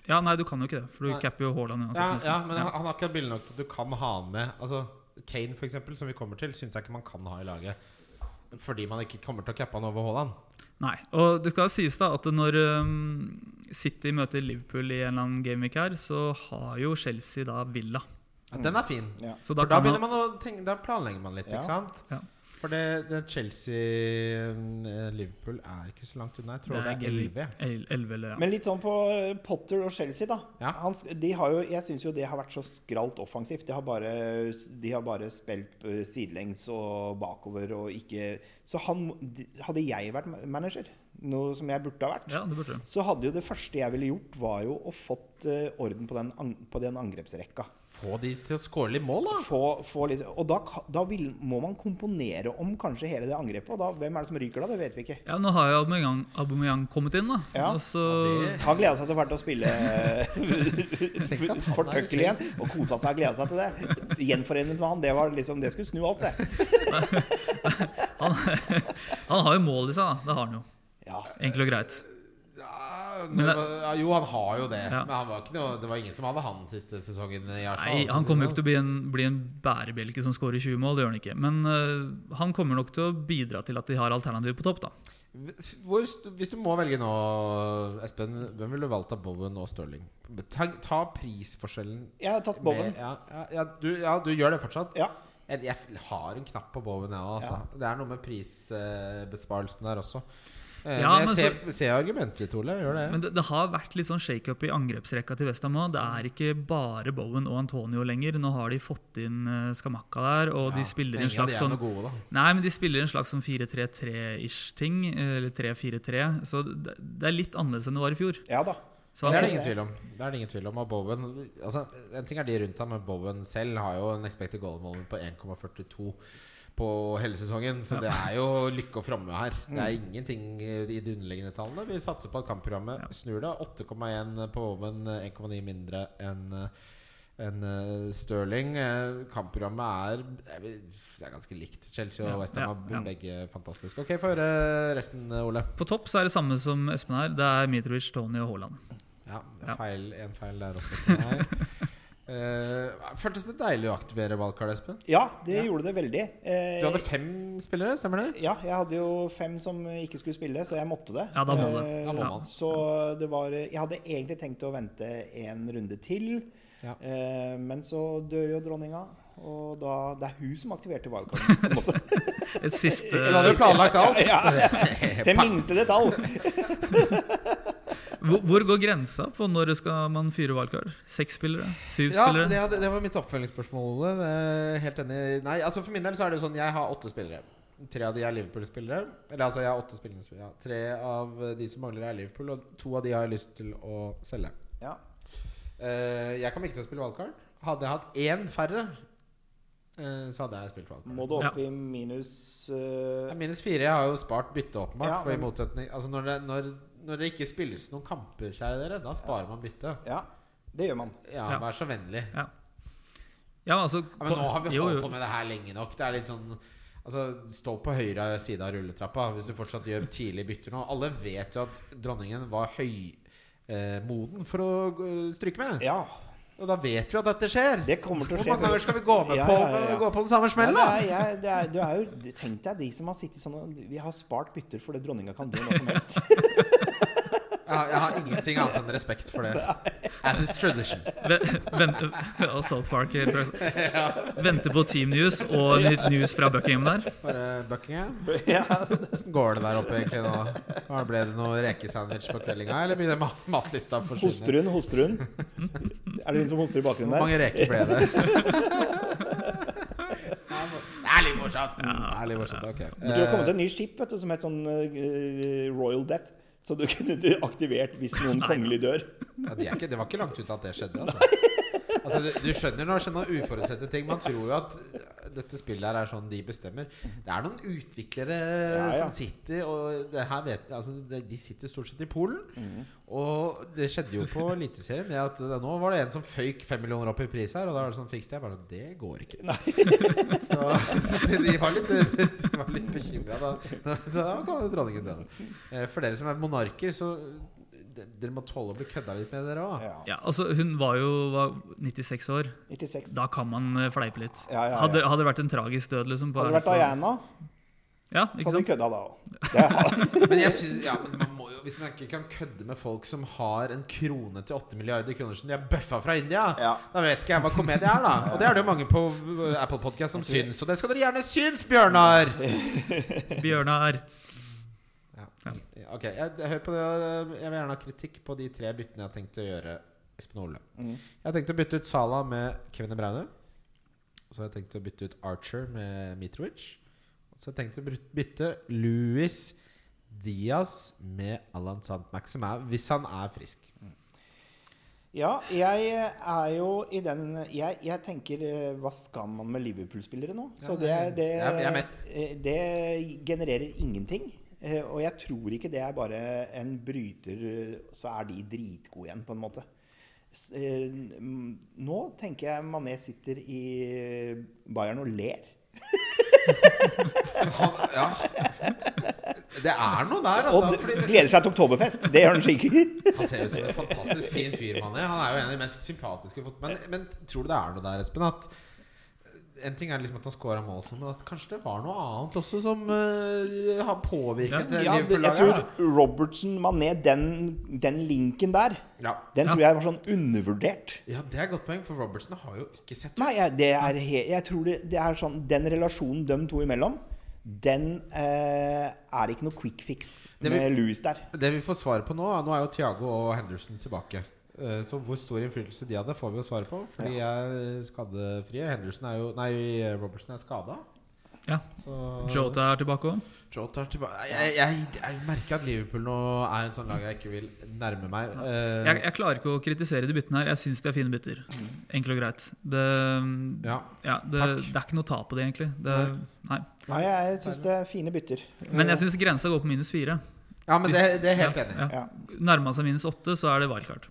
D: Ja, nei, du kan jo ikke det, for du
C: Nei.
D: capper jo Haaland uansett.
C: Ja,
D: nesten.
C: ja Men
D: Ja.
C: han han er akkurat billig nok til at du kan ha han med. Altså Kane, for eksempel, som vi kommer til, syns jeg ikke man kan ha i laget. Fordi man ikke kommer til å cappe han over Haaland.
D: Nei. Og det skal sies da at når øhm, City møter Liverpool i en eller annen gameweek her, så har jo Chelsea da Villa.
C: Mm. Ja, den er fin.
A: Ja.
D: Så
C: Da, da,
D: da, kan
C: begynner
D: man,
C: man å tenke, da planlegger man litt,
A: Ja.
C: ikke sant?
D: Ja.
C: For det, det Chelsea-Liverpool er ikke så langt unna. Jeg tror det er
D: gameweek
C: 11.
D: el- 11 eller ja.
A: Men litt sånn på eh, Potter og Chelsea, da.
C: Ja.
A: Han sk- de har jo, jeg syns jo det har vært så skralt offensivt. De har bare, de har bare spilt eh, sidelengs og bakover og ikke Så han de- Hadde jeg vært ma- manager, noe som jeg burde ha vært,
D: ja, det burde du.
A: så hadde jo det første jeg ville gjort, var jo å fått eh, orden på den, an- på den angrepsrekka.
C: Få de til å skåre litt mål, da!
A: Få, få litt, og da, ka- da vil, må man komponere om kanskje hele det angrepet. Og da, hvem er det som ryker da? Det vet vi ikke.
D: Ja, nå har jo Aubameyang, Aubameyang kommet inn, da.
A: Ja.
D: Og så,
C: Ja, det-
A: Han gleda seg til hvert å spille
C: Tenk at han
A: for
C: er i
A: Tuckle igjen. Og kosa seg og gleda seg til det. Gjenforenet med han, det, var liksom, det skulle snu alt, det.
D: han, han har jo mål i seg, da. Det har han jo.
A: Ja.
D: Enkelt og greit.
C: Ja,
D: Men det-
C: ja, jo, han har jo det.
D: Ja.
C: Men han var ikke noe, det var ingen som hadde han siste sesongen i Arsenal.
D: Nei, Han kommer
C: sånn.
D: jo ikke til å bli en, bli en bærebjelke som skårer 20 mål, det gjør han ikke. Men øh, han kommer nok til å bidra til at de har alternativer på topp, da.
C: Hvor, st- hvis du må velge nå, Espen, hvem ville du valgt av Bowen og Stirling? Ta, ta prisforskjellen
A: Jeg har tatt Bowen.
C: Med, ja, ja, ja, du, ja, du gjør det fortsatt?
A: Ja.
C: Jeg, jeg har en knapp på Bowen, jeg òg. Altså. Det er noe med prisbesparelsen der også. Eh,
D: Ja,
C: men
D: men
C: jeg ser, ser argumentet ditt, Ole. Gjør det.
D: Men det, det har vært litt sånn shakeup i angrepsrekka til Westham òg. Det er ikke bare Bowen og Antonio lenger. Nå har de fått inn eh, Skamakka der, og de
C: Ja,
D: spiller en
C: ingen av de
D: slags
C: er
D: sånn
C: noe gode, da.
D: Nei, men de spiller en slags sånn 4-3-3-ish-ting. Eller 3-4-3. Så det, det er litt annerledes enn det var i fjor.
A: Ja da.
D: Så
C: Det er det
D: han,
C: ingen tvil om. Det er det ingen tvil om. Og Bowen altså, En ting er de rundt ham, men Bowen selv har jo en expected goal-måling på 1,42 på hele sesongen. Så det er jo lykke og fromme her. Det er
D: Mm.
C: ingenting i de underliggende tallene. Vi satser på at kampprogrammet snur det. 8,1 på Bowen, 1,9 mindre enn enn eh, Sterling. Eh, Kampprogrammet er jeg vil- Det er ganske likt. Chelsea og
D: Ja,
C: West Ham
D: ja,
C: er
D: ja.
C: begge fantastiske. Ok, få høre resten, Ole.
D: på topp så er det samme som Espen her. Det er Mitrovic, Tony og Haaland.
C: Ja,
D: Ja.
C: feil, en feil der også. for meg. Eh, føltes det deilig å aktivere valgkart, Espen?
A: Ja, det gjorde det veldig. Eh,
C: Du hadde fem spillere, stemmer det?
A: Ja, jeg hadde jo fem som ikke skulle spille, så jeg måtte det.
D: Ja, da må du.
A: Eh,
C: Da må man.
A: Så det var Jeg hadde egentlig tenkt å vente en runde til,
C: Ja.
A: eh, men så dør jo dronninga. Og da Det er hun som aktiverte wildcarden. på en måte.
D: Et siste
C: Du hadde jo planlagt alt.
A: ja, til
C: Pang.
A: minste detalj.
D: hvor, hvor går grensa på når skal man fyre wildcard? Seks spillere? Syv
C: Ja,
D: spillere?
C: det, hadde, det var mitt oppfølgingsspørsmål, Ole. Det er Helt enig. Nei, altså For min del så er det jo sånn jeg har åtte spillere. Tre av de er Liverpool-spillere. Eller altså, jeg har åtte spillende spillere. Ja. Tre av de som mangler, er Liverpool, og to av de har jeg lyst til å selge.
A: Ja.
C: Eh, jeg kommer ikke til å spille valgkart. Hadde jeg hatt én færre, eh, så hadde jeg spilt valgkart.
A: Må du opp i minus eh,
C: Ja, Minus fire. Jeg har jo spart bytte åpenbart.
A: Ja,
C: for i
A: men-
C: motsetning Altså når det, når, når det ikke spilles noen kamper, kjære dere, da sparer man bytte.
A: Ja, det gjør man.
C: Ja,
D: Ja.
C: vær så vennlig.
D: Ja, altså,
C: Ja, men nå har vi
D: jo,
C: holdt
D: jo.
C: på med det her lenge nok. Det er litt sånn Altså, Stå på høyre side av rulletrappa hvis du fortsatt gjør tidlig bytter nå. Alle vet jo at dronningen var høymoden eh, moden for å eh, stryke med.
A: Ja,
C: Og da vet vi at dette skjer.
A: det kommer til å
C: Hvor
A: skje.
C: mange ganger skal vi gå med
A: Ja,
C: på,
A: ja, ja, ja.
C: Gå på den samme smellen, da?
A: Nei, det er, jeg, det er, du er jo, tenk deg de som har sittet sånn og Vi har spart bytter fordi dronninga kan dø når som helst.
C: Jeg har, jeg har ingenting annet enn respekt for det. As is tradition.
D: Ve- Vente, og South Park eh, Vente på Team News og litt news fra Buckingham der.
C: Bare Buckingham.
A: ja.
C: Hvordan går det der oppe egentlig nå? Har- Ble det noe rekesandwich på kvellinga, eller begynner mat matlista å forsvinne?
A: Hoster hun, hoster hun? Er det hun som hoster i bakgrunnen
C: Hvor
A: der?
C: mange reker ble det? Det er litt morsomt. Det er litt morsomt, ok
A: Men det har kommet
C: Eh,
A: en ny skip vet du, som het sånn eh, Royal Death. Så du kunne aktivert hvis noen kongelig dør.
C: Eh, ja, de er ikke, det var ikke langt ut at det skjedde. Altså. Altså, du, du skjønner når skjønner uforutsette ting. Man tror jo at dette spillet her er sånn de bestemmer. Det er noen utviklere
A: Ja, ja.
C: som sitter og det her vet, altså, det- De sitter stort sett i Polen. Og det skjedde jo på Eliteserien. det at det- Nå var det en som føyk fem millioner opp i pris her, og da var det sånn fiks det. Jeg bare sånn, Det går ikke. Så, så de- de var litt, de var litt bekymra da, da, da kom dronningen døde. Eh, For dere som er monarker, så de- dere må tåle å bli kødda litt med, dere òg.
A: Ja.
D: Ja, altså, hun var jo var 96 år.
A: 96.
D: Da kan man eh, fleipe litt.
A: Ja, ja, ja.
D: Hadde, hadde det vært en tragisk død, liksom på-
A: Hadde det vært Sånn Diana,
D: Ja,
A: så
D: ikke
A: hadde vi
D: sant?
A: kødda da òg. Det har-
C: Men jeg synes, ja, men man må jo, hvis man ikke kan kødde med folk som har en krone til 8 milliarder kroner som de har bøffa fra India,
A: Ja.
C: da vet ikke jeg hva komedie er, da. Og det er det jo mange på uh, Apple Podcast som syns, og det skal dere gjerne synes, Bjørnar!
D: Bjørnar.
C: Ja, Ok, jeg, hør på det. Jeg vil gjerne ha kritikk på de tre byttene jeg har tenkt å gjøre. Espen Ole. Jeg har tenkt å bytte ut Sala med Kevin De Bruyne. Og så har jeg tenkt å bytte ut Archer med Mitrovic. Og så har jeg tenkt å bryt- bytte Louis Diaz med Alan Sant Maximae, hvis han er frisk.
A: Ja, jeg er jo i den Jeg, jeg tenker eh, Hva skal man med Liverpool-spillere nå?
C: Ja,
A: Så det, er- det,
C: jeg- jeg er mett.
A: eh, det genererer ingenting. Eh, Og jeg tror ikke det er bare en bryter, eh, så er de dritgode igjen, på en måte. S- eh, m- Nå tenker jeg Mané sitter i Bayern og ler.
C: Han, ja. Det er noe der,
A: Og
C: altså.
A: d-
C: Fordi,
A: gleder seg til oktoberfest. Det gjør han sikkert.
C: Han ser ut som en fantastisk fin fyr, mann. Han er jo en av de mest sympatiske fot- men, men tror du det er noe der, Espen? At En ting er liksom at han scora mål, sånn, men at kanskje det var noe annet også som eh, har påvirket
A: Ja, det, jeg
C: Liverpool-laget. her,
A: tror Robertson, Mané, den, den linken der,
C: da. Ja.
A: den
D: Ja.
A: tror jeg var sånn undervurdert.
C: ja, det er et godt poeng, for Robertson har jo ikke sett
A: Nei, jeg, det er he jeg tror det, det er sånn Den relasjonen dem to imellom, den eh, er ikke noe quick fix
C: Det
A: med
C: vil-
A: Louis der.
C: Det vi får svar på nå, nå er jo Thiago og Henderson tilbake. Eh, Så hvor stor innflytelse de hadde, får vi jo svar på. For de er skadefrie. Henderson er jo Nei, Robertson er skada.
D: Ja. Jota er tilbake òg.
C: Jota er tilbake jeg, jeg, jeg merker at Liverpool nå er en sånn lag jeg ikke vil nærme meg. Eh,
D: Jeg, jeg klarer ikke å kritisere de byttene her. Jeg syns de er fine bytter. Enkelt og greit. Det,
C: ja.
D: ja, det,
C: Takk.
D: det er ikke noe tap på det, egentlig. Det, nei.
A: Nei, jeg syns det er fine bytter.
D: Men jeg syns grensa går på minus fire.
C: ja, men det, det er jeg helt
D: Ja,
C: enig i.
D: ja.
A: Ja.
D: Nærma seg minus åtte, så er det wildcard.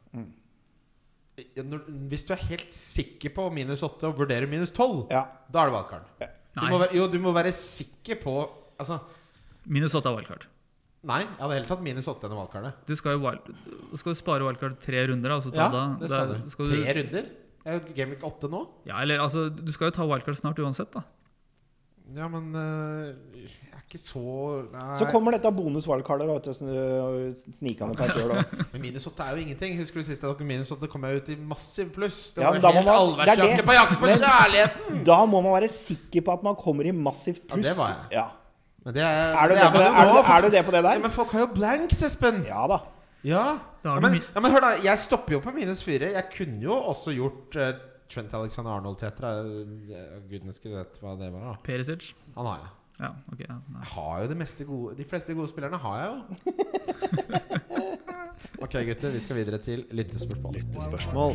C: Når- Hvis du er helt sikker på minus åtte og vurderer minus tolv,
A: Ja.
C: da er det wildcard. Du
D: Nei.
C: må være, jo, du må være sikker på Altså,
D: Minus åtte er wildcard.
C: nei, jeg hadde heller tatt minus åtte enn wildcardet.
D: Du skal jo, wild, du skal jo spare wildcard tre runder, altså ta
C: Ja,
D: da.
C: det skal
D: er-
C: du.
D: skal
C: Tre runder? Det er jo Gameweek 8 nå.
D: Ja, eller altså, du skal jo ta wildcard snart uansett, da.
C: Ja, men eh, jeg er ikke så Nei.
A: Så kommer dette bonus-wildcardet vet du, sn- øh, snikende på deg sjøl òg.
C: Men minus 8 er jo ingenting. Husker du sist jeg tok minus 8? Kom jeg ut i massiv pluss. Det
A: Ja,
C: var
A: men da må man-
C: helt
A: det er
C: allværsjakke
A: det.
C: på jakten på
A: Men-
C: kjærligheten!
A: Da må man være sikker på at man kommer i massivt
C: Ja,
A: pluss.
C: det var
A: Ja.
C: Men det er,
A: Er du det,
C: er
A: på det,
C: man jo
A: er,
C: nå,
A: du-
C: for-
A: er du det på det
C: Ja,
A: der?
C: men folk har jo blanks, Espen! Ja.
A: Ja da.
C: Ja.
D: Da har du
C: men,
D: min-
C: ja, men hør, da. Jeg stopper jo på minus 4. Jeg kunne jo også gjort eh, Trent Alexander Arnold til etter eh, Gudene skulle vite hva det var, da.
D: Perisic.
C: Han har jeg.
D: Ja, ok. Ja, nei.
C: Jeg har jo det meste gode De fleste gode spillerne har jeg jo. ok, gutter. Vi skal videre til lyttespørsmål.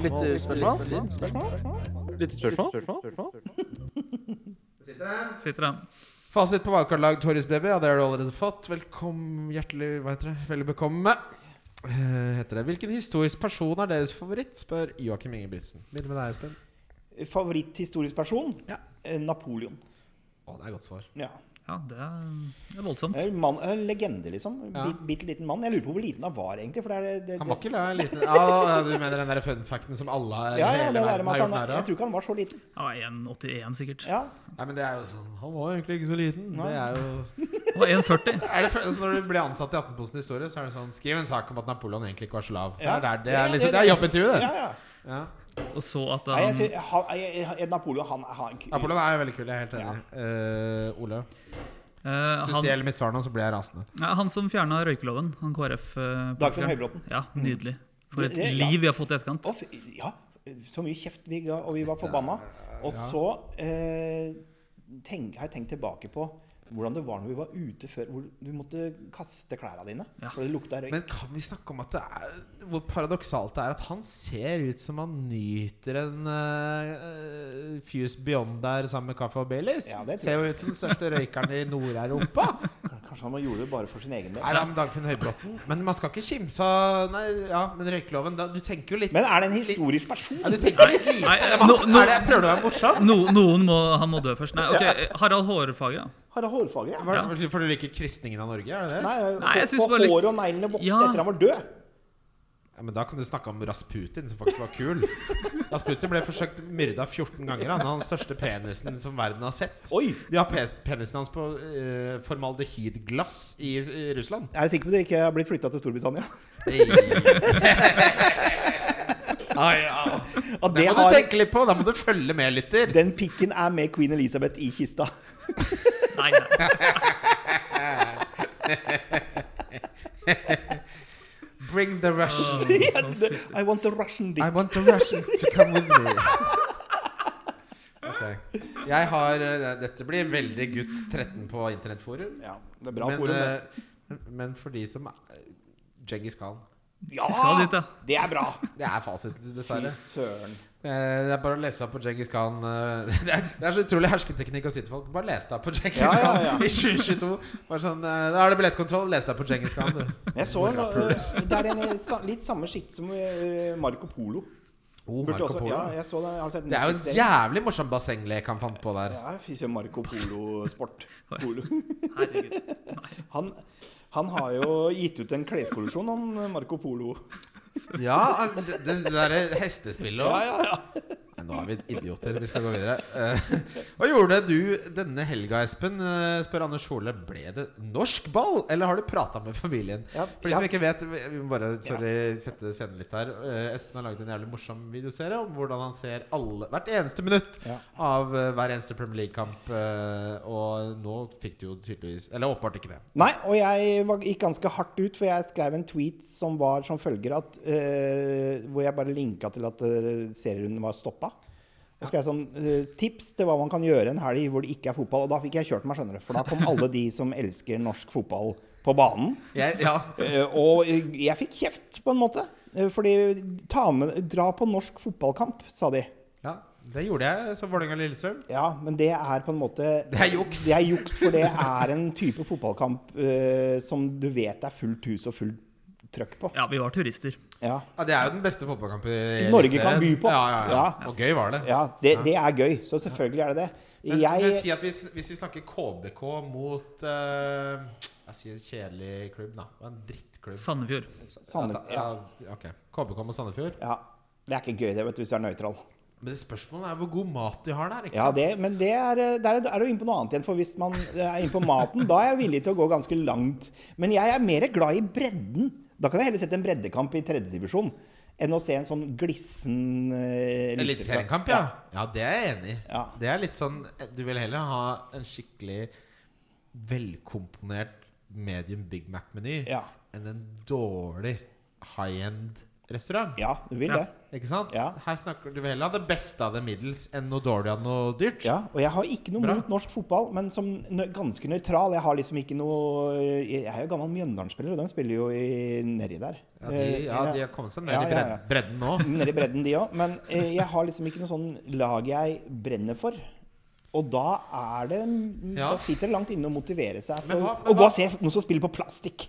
B: Lyttespørsmål?
D: Sitter den.
C: Fasit på valgkartlag Torjus Baby. Ja, det har du allerede fått. Velkommen, hjertelig Hva heter det? Veldig bekomme. Eh, Heter det. Hvilken historisk person er deres favoritt? Spør Joakim Ingebrigtsen. Begynner med deg, Espen.
A: Favoritthistorisk person?
C: Ja.
A: Eh, Napoleon.
C: Å, det er godt svar.
A: Ja.
D: Ja, det er, det er voldsomt.
A: Eh, Mann, eh, legende, liksom.
C: Ja.
A: Bi- Bitte liten mann. Jeg lurer på hvor liten han var, egentlig. For det er, det,
C: Han
A: det,
C: var ikke la- liten Ja, du mener den der fun facten som alle i
A: ja, ja,
C: hele
A: det der
C: verden
A: med
C: har
A: at han,
C: gjort narr
A: jeg
C: av?
A: tror ikke han var så liten.
D: Ja, 1,81 sikkert.
A: Ja.
C: Nei, men det er jo sånn Han var jo egentlig ikke så liten. Det er jo
D: Det var 1,40.
C: Er det følelsen Når du blir ansatt i Aftenposten Historie, så er det sånn Skriv en sak om at Napoleon egentlig ikke var så lav.
A: Ja.
C: Det, er der, det,
A: Ja,
C: er
A: det-
C: liksom,
A: det-
C: det er jobbintervju, det.
A: Ja, ja.
C: Ja.
D: Og så at
A: Nei, jeg,
D: han
A: sier- han, jeg, jeg, Napoleon, han, han
C: Napoleon er veldig kul, jeg er helt enig. Eh, Ole,
D: eh,
C: hvis du
D: han,
C: stjeler mitt svar nå, så blir jeg rasende.
D: ja, han som fjerna røykeloven, han KrF eh,
A: Dagfinn
D: politikeren.
A: Høybråten.
D: Ja, nydelig. For et
A: Det- det- ja.
D: liv vi har fått i etterkant.
A: Å, fy- ja, så mye kjeft vi ga, og vi var forbanna. Og så eh, tenk, har jeg tenkt tilbake på hvordan det var når vi var ute før, hvor du måtte kaste klærne dine.
D: Ja.
A: For det lukta røyk.
C: Men kan vi snakke om at det er, hvor paradoksalt det er at han ser ut som han nyter en eh, Fuse Beyond der sammen med kaffe og Baileys?
A: Ja, det tror
C: ser jo ut som den største røykeren i Nord-Europa.
A: Kanskje han gjorde det bare for sin egen del.
C: Nei, da, men Dagfinn Høybråten. Men man skal ikke kimse av Nei, ja, men røykeloven da, Du tenker jo litt
A: Men er det en historisk person?
C: Ja, du tenker litt lite
D: Nei,
C: Er det-
D: nå- nå-
C: er det, Prøver du å være morsom?
D: No, noen må, han må dø først. Nei, ok, Harald Hårfagre.
A: Harald Hårfagre? Ja.
C: Var, det- For du liker kristningen av Norge? er det det?
A: Nei,
D: Nei, jeg
A: på,
D: synes
A: på
D: bare-
A: håret og neglene vokste
D: Ja.
A: etter han var død.
C: Ja, men Da kan du snakke om Rasputin, som faktisk var kul. Rasputin ble forsøkt myrda 14 ganger. Han har den største penisen som verden har sett.
A: Oi!
C: De har pes- penisen hans på eh, formaldehydglass i, i Russland.
A: Jeg er sikker på at det ikke har blitt flytta til Storbritannia.
C: Ei. Ah, ja.
A: At
C: Det
A: det
C: må du
A: har,
C: tenke litt på. Da må du følge med, lytter.
A: den pikken er med Queen Elizabeth i kista.
D: Nei, nei.
C: Bring the
A: Uh,
C: Russians.
A: I want a Russian dick.
C: I want the Russians to come with me. Ok. Jeg har eh, Dette blir veldig gutt 13 på internettforum.
A: Ja, det er bra
C: men,
A: forum, det.
C: eh, men for de som er Djengis Khan.
A: Ja!
D: Vi skal dit, ja.
A: Det er bra!
C: Det er fasiten,
A: Fy
C: dessverre.
A: søren.
C: Eh, Det er bare å lese opp på Djengis Khan. eh, Det er, det er så utrolig hersketeknikk å si til folk Bare les deg opp på Djengis
A: Ja,
C: Khan
A: ja, ja.
C: i 2022. Bare sånn, eh, da er det billettkontroll. Les deg opp på Djengis Khan, du.
A: Men Jeg så en, øh, det er en øh, sa- litt samme sjikt som øh, Marco Polo.
C: Oh,
A: Burde
C: Marco
A: også,
C: Polo.
A: ja, jeg så det, jeg har sett
C: Det er jo en
A: Netflix-serien.
C: jævlig morsom bassenglek han fant på der.
A: Ja, fy søren, Marco Polo-sport.
D: Oi.
A: Polo.
D: Herregud.
A: Han, han har jo gitt ut en kleskollisjon, han øh, Marco Polo.
C: Ja, det, det derre hestespillet òg.
A: ja, ja.
C: Nå er vi idioter. Vi skal gå videre. Eh, Hva gjorde du denne helga, Espen? Eh, Spør Anders Hole. Ble det norsk ball, eller har du prata med familien?
A: Ja,
C: For de
A: ja.
C: som ikke vet, vi vi må bare sorry, sette scenen litt her. Eh, Espen har laget en jævlig morsom videoserie om hvordan han ser alle, hvert eneste minutt
A: Ja.
C: av eh, hver eneste Premier League-kamp. eh, Og nå fikk du jo tydeligvis Eller åpenbart ikke det.
A: Nei, og jeg var, gikk ganske hardt ut, for jeg skrev en tweet som var som følger at eh, Hvor jeg bare linka til at eh, serierunden var stoppa. Og skrev sånn eh, tips til hva man kan gjøre en helg hvor det ikke er fotball. Og da fikk jeg kjørt meg, skjønner du. For da kom alle de som elsker norsk fotball, på banen.
C: Jeg, ja.
A: Eh, og eh, jeg fikk kjeft, på en måte. Eh, Fordi ta med, Dra på norsk fotballkamp, sa de.
C: ja, det gjorde jeg som Vålerenga-Lillestrøm.
A: Ja, men det er på en måte
C: Det er juks!
A: Det er juks, for det er en type fotballkamp eh, som du vet er fullt hus og fullt trøkk på.
D: Ja, vi var turister.
A: Ja,
C: Ja, det er jo den beste fotballkampen i
A: Norge
C: Eliteserien.
A: kan by på.
C: Ja, ja, ja.
A: Ja.
C: Og gøy var det.
A: ja det, det er gøy, så selvfølgelig er det det.
C: Men, men
A: Jeg,
C: si at hvis, hvis vi snakker KBK mot eh, Jeg sier kjedelig klubb, da. Det var En drittklubb.
D: Sandefjord.
A: Sande-
C: Ja, da- ja, ok. KBK mot Sandefjord.
A: ja, det er ikke gøy det, vet du, hvis du er nøytral.
C: Men det spørsmålet er hvor god mat de har der. ikke
A: Ja,
C: sant?
A: det, men det er, eh, der er du inne på noe annet igjen, for hvis man eh, er inne på maten, da er jeg villig til å gå ganske langt. Men jeg er mer glad i bredden. Da kan jeg heller sette en breddekamp i tredjedivisjon enn å se en sånn glissen eh,
C: Eliteseriekamp, ja. ja. Det er jeg enig i.
A: Ja.
C: Det er litt sånn Du vil heller ha en skikkelig velkomponert medium Big Mac-meny
A: Ja.
C: enn en dårlig high-end restaurant.
A: Ja, du vil
D: Ja.
A: det.
C: Ikke sant?
A: Ja.
C: Her snakker du vil heller ha det beste av det middels enn noe dårlig av noe dyrt.
A: Ja, og jeg har ikke noe
C: Bra.
A: mot norsk fotball, men som nø ganske nøytral. Jeg har liksom ikke noe Jeg er jo gammel Mjøndalen-spiller, og de spiller jo i, nedi der.
C: Ja, de, ja,
A: Eh,
C: de har kommet seg ned
A: Ja,
C: i
A: ja, ja.
C: bredden, bredden nå.
A: Nedi bredden, de òg. Men eh, jeg har liksom ikke noe sånn lag jeg brenner for. Og da er det
C: Ja.
A: Da sitter det langt inne å motivere seg.
C: Men
A: For,
C: hva- men
A: og gå
C: hva-
A: og se noen som spiller på plastikk.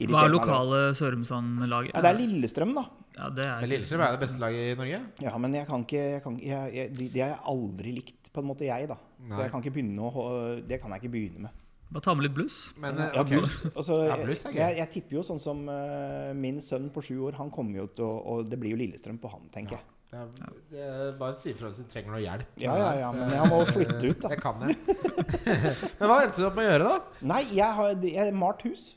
D: Hva er
A: Irriterer meg, det.
D: lokale Sørumsand-laget?
A: Ja, det er Lillestrøm, da.
D: Ja, det er
C: Men
D: ikke-
C: Lillestrøm er jo det beste laget i Norge.
A: Ja, men jeg kan ikke, jeg kan, jeg, jeg, de, de har jeg aldri likt, på en måte, jeg, da. Så
C: Nei.
A: jeg kan ikke begynne å, Det kan jeg ikke begynne med.
D: Bare ta med litt bluss.
C: Men eh,
A: Ja,
C: ok.
A: blues. Altså,
C: Ja, blues er
A: jeg,
C: gøy.
A: jeg, tipper jo sånn som eh, min sønn på sju år, han kommer jo til å Og det blir jo Lillestrøm på han, tenker jeg.
C: Det er, det er bare si ifra hvis du trenger noe hjelp.
A: Ja, ja, ja, men jeg må flytte ut, da.
C: Det kan jeg. Men hva endte du opp med å gjøre, da?
A: Nei, jeg har jeg har malt hus.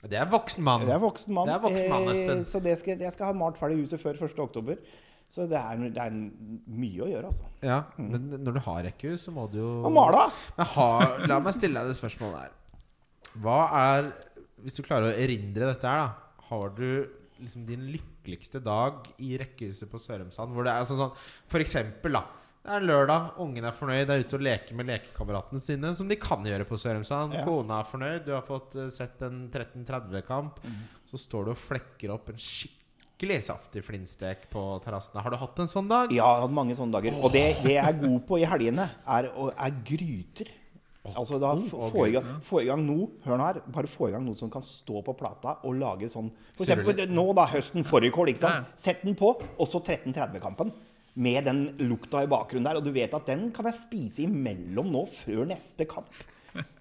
C: Det er voksen mann.
A: Det er voksen mann.
C: Det er voksen mann,
A: eh,
C: Espen.
A: Så det skal, jeg skal ha malt ferdig huset før 1. oktober. Så det er, det er mye å gjøre, altså.
C: Ja, men når du har rekkehus, så må du jo
A: Og male!
C: Men har, la meg stille deg det spørsmålet her. Hva er Hvis du klarer å erindre dette her, da. Har du liksom din lykkeligste dag i rekkehuset på Sørumsand? Hvor det er sånn sånn For eksempel, da. Det er en lørdag, ungen er fornøyd, er ute og leker med lekekameratene sine, som de kan gjøre på Sørumsand.
A: Ja.
C: Kona er fornøyd, du har fått eh, sett en 13.30-kamp. Så står du og flekker opp en skikkelig saftig flintstek på terrassen. Har du hatt en sånn dag?
A: Ja, jeg har hatt mange sånne dager. Og det, det jeg er god på i helgene, er, å- er gryter. Altså da f-
C: og
A: få i, gang, få i gang noe Hør nå her. Bare få i gang noe som kan stå på plata og lage sånn For
C: Surrer
A: eksempel nå, da. Høsten fårikål, ikke
D: Ja.
A: sant. Sett den på, og så 13.30-kampen. Med den lukta i bakgrunnen der. Og du vet at den kan jeg spise imellom nå, før neste kamp.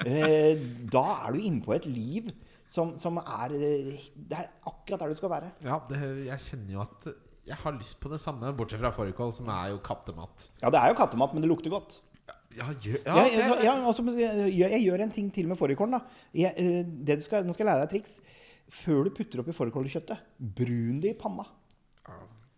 A: Eh, da er du inne på et liv som, som er eh, Det er akkurat der du skal være.
C: Ja, det, jeg kjenner jo at jeg har lyst på det samme, bortsett fra fårikål, som er jo kattemat.
A: Ja, det er jo kattemat, men det lukter godt.
C: Ja, gjør
A: Ja, jeg, så, ja, og så må jeg, si, jeg, jeg gjør en ting til med fårikålen. da. Jeg, eh, det du skal, nå skal jeg lære deg et triks. Før du putter oppi fårikålkjøttet, brun det i panna.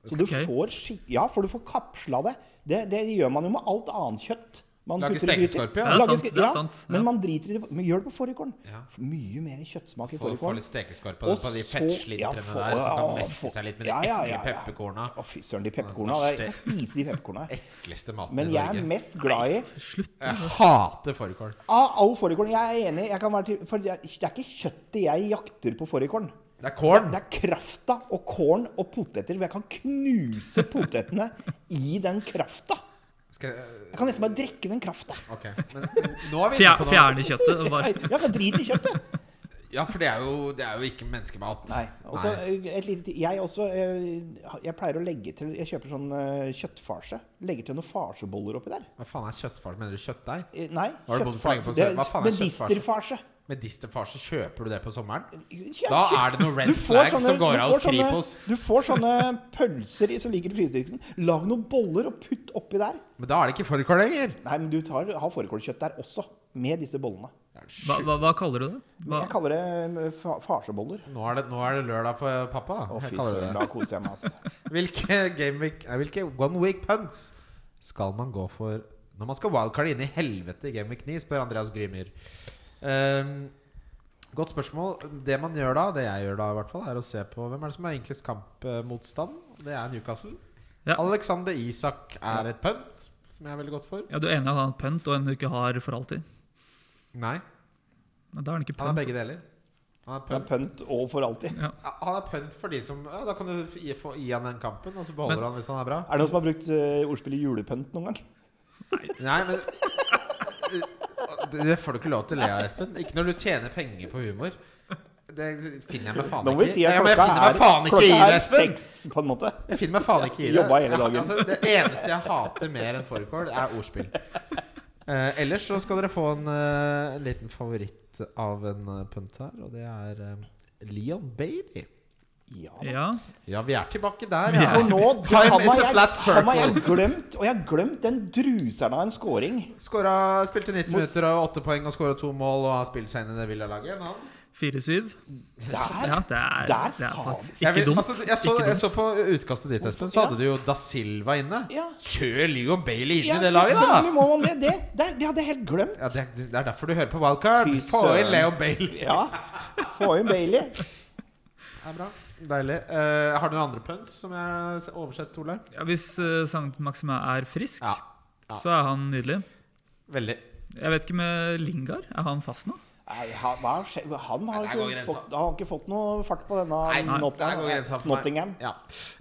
A: Så du
D: Ok.
A: får skik ja, for du får kapsla det. det. Det gjør man jo med alt annet kjøtt. Man
C: Lager
A: putter i gryter.
C: stekeskorpe, ja.
D: Ja, det er
A: Lager
D: sant,
A: ske-
D: det er
A: ja,
D: sant, ja.
A: Men man driter i det. Men gjør det på fårikålen.
C: Ja.
A: Mye mer kjøttsmak i
C: Få, få
A: fårikålen.
C: litt stekeskorp på, det,
A: Og
C: på de
A: så-
C: fettslintrene
A: ja, få-
C: der, som kan
A: ja,
C: meske
A: få-
C: seg litt med de
A: ja,
C: ekle
A: ja, ja, ja.
C: pepperkorna.
A: Å, fy søren, de pepperkorna. Jeg jeg spiser de pepperkorna. jeg.
C: Ekleste maten
A: Men
C: i
A: jeg
C: Norge.
A: er mest glad i
D: Slutt.
C: Jeg hater fårikål.
A: Av all fårikålen. Jeg er enig. Jeg kan være til, for det er det er ikke kjøttet jeg jakter på fårikålen.
C: Det er korn!
A: Det er krafta og kålen og poteter. hvor Jeg kan knuse potetene i den krafta.
C: Skal jeg,
A: Jeg kan nesten bare drikke den krafta.
C: ok, men nå er vi inne
D: Fjer,
C: på
D: fjerne
C: noe.
D: kjøttet. og Bare.
A: Jeg kan drite i kjøttet.
C: Ja, for det er jo, det er jo ikke menneskemat.
A: Nei. Og så
C: Nei.
A: eh, et lite ti- Jeg også eh, Jeg pleier å legge til Jeg kjøper sånn eh, kjøttfarse. Legger til noen farseboller oppi der.
C: Hva faen er kjøttfars? Mener du kjøttdeig?
A: Eh, Nei.
C: Har du bodd for lenge på Sør- Hva faen er kjøttfarse?
A: Medisterfarse.
C: Med Distefar så kjøper du det på sommeren?
A: Ja,
C: Da
A: shit.
C: er det noen red
A: Du får
C: flags som går
A: du
C: av
A: får
C: hos Kripos.
A: Sånne, du får sånne pølser i- som ligger i frysediksen. Lag noen boller og putt oppi der.
C: Men da er det ikke fårikål lenger.
A: Nei, men du tar, har fårikålkjøtt der også, med disse bollene.
C: Det er det
D: Hva,
C: sjukt.
D: hva, hva kaller du det? Hva,
A: Jeg kaller det eh, fa farseboller.
C: Nå er, det, nå er det lørdag for pappa. da.
A: Å,
C: Jeg
A: fy
C: kaller det
A: søren,
C: det.
A: da koser jeg meg, ass.
C: Hvilke, game week, nei, hvilke one week punts skal man gå for når man skal wildcarde inn i helvete i Game Week 9, spør Andreas Grymyr. Ehm, godt spørsmål. Det man gjør da, det jeg gjør da i hvert fall, er å se på hvem er det som er enklest kampmotstand. Det er Newcastle.
D: Ja.
C: Alexander Isak er et punt, som jeg er veldig godt for.
D: ja, du er enig i at han er pønt, og en du ikke har for alltid?
C: Nei,
D: Men da er han ikke
C: han er
D: pønt.
C: begge deler. Han er
A: Det er
C: punt.
A: pønt og for alltid.
C: Han er punt for de som ja, Da kan du gi, få, gi han den kampen, og så beholder
D: Men-
C: han hvis han er bra.
A: Er det noen som har brukt eh, ordspillet julepønt noen gang?
C: Nei, men eh, Det får du ikke lov til å le av, Espen. Ikke når du tjener penger på humor. Det finner jeg meg faen
A: Nå må
C: ikke
A: vi
C: i.
A: si
C: Nei,
A: at
C: men jeg
A: klokka
C: finner meg
A: er,
C: faen ikke i
A: klokka
C: det,
A: er
C: Espen!
A: seks, på en måte.
C: Jeg finner meg faen ikke i det.
A: Jobba hele dagen.
C: Altså, det eneste jeg hater mer enn fårikål, er ordspill. Eh, ellers så skal dere få en, eh, en liten favoritt av en eh, punt her, og det er eh, Leon Bailey.
A: Ja.
D: Ja,
C: Ja, vi er tilbake der,
D: Vi
C: ja.
A: For nå
C: Time
A: han
C: is
A: har
C: a
A: jeg-
C: flat
A: han har jeg
C: circle.
A: glemt, og jeg har glemt den druseren av en scoring.
C: Skåra, spilte 90 minutter og 8 poeng og skåra to mål og har spilt seg inn i det villalaget. nå.
D: 4-7.
A: Der!
D: Ja, det er,
A: Der
D: det
A: sa
D: er
A: han.
D: faktisk
C: Jeg
D: ikke
C: vil-
D: dumt.
C: Altså, jeg, så,
D: ikke
C: jeg
D: dumt.
C: så på utkastet ditt, Espen, så
A: Ja.
C: hadde du jo Da Silva inne.
A: Ja.
C: Kjør Leon Bailey inn
A: Ja,
C: i det laget,
A: selvfølgelig
C: da!
A: må man det. Det, det, det hadde jeg helt glemt.
C: Ja, det, er, det er derfor du hører på Wildcard.
A: Fy
C: Få inn
A: søren.
C: Leon Bailey.
A: Ja. Få inn Bailey.
C: Det er bra. Deilig. Eh, har du noen andre punts som jeg har oversett, Ole?
D: Ja, hvis uh, Sankt Maxima er frisk,
C: Ja. ja.
D: så er han nydelig.
C: Veldig.
D: Jeg vet ikke med Lingard. Er han fast nå?
A: Nei, han, hva har skjedd? han har,
C: Nei, der går
A: ikke
C: grensa.
A: fått, han har ikke fått noe fart på denne
D: nei,
A: Not-
C: Der går grensa for meg.
A: Nottingham.
C: Ja.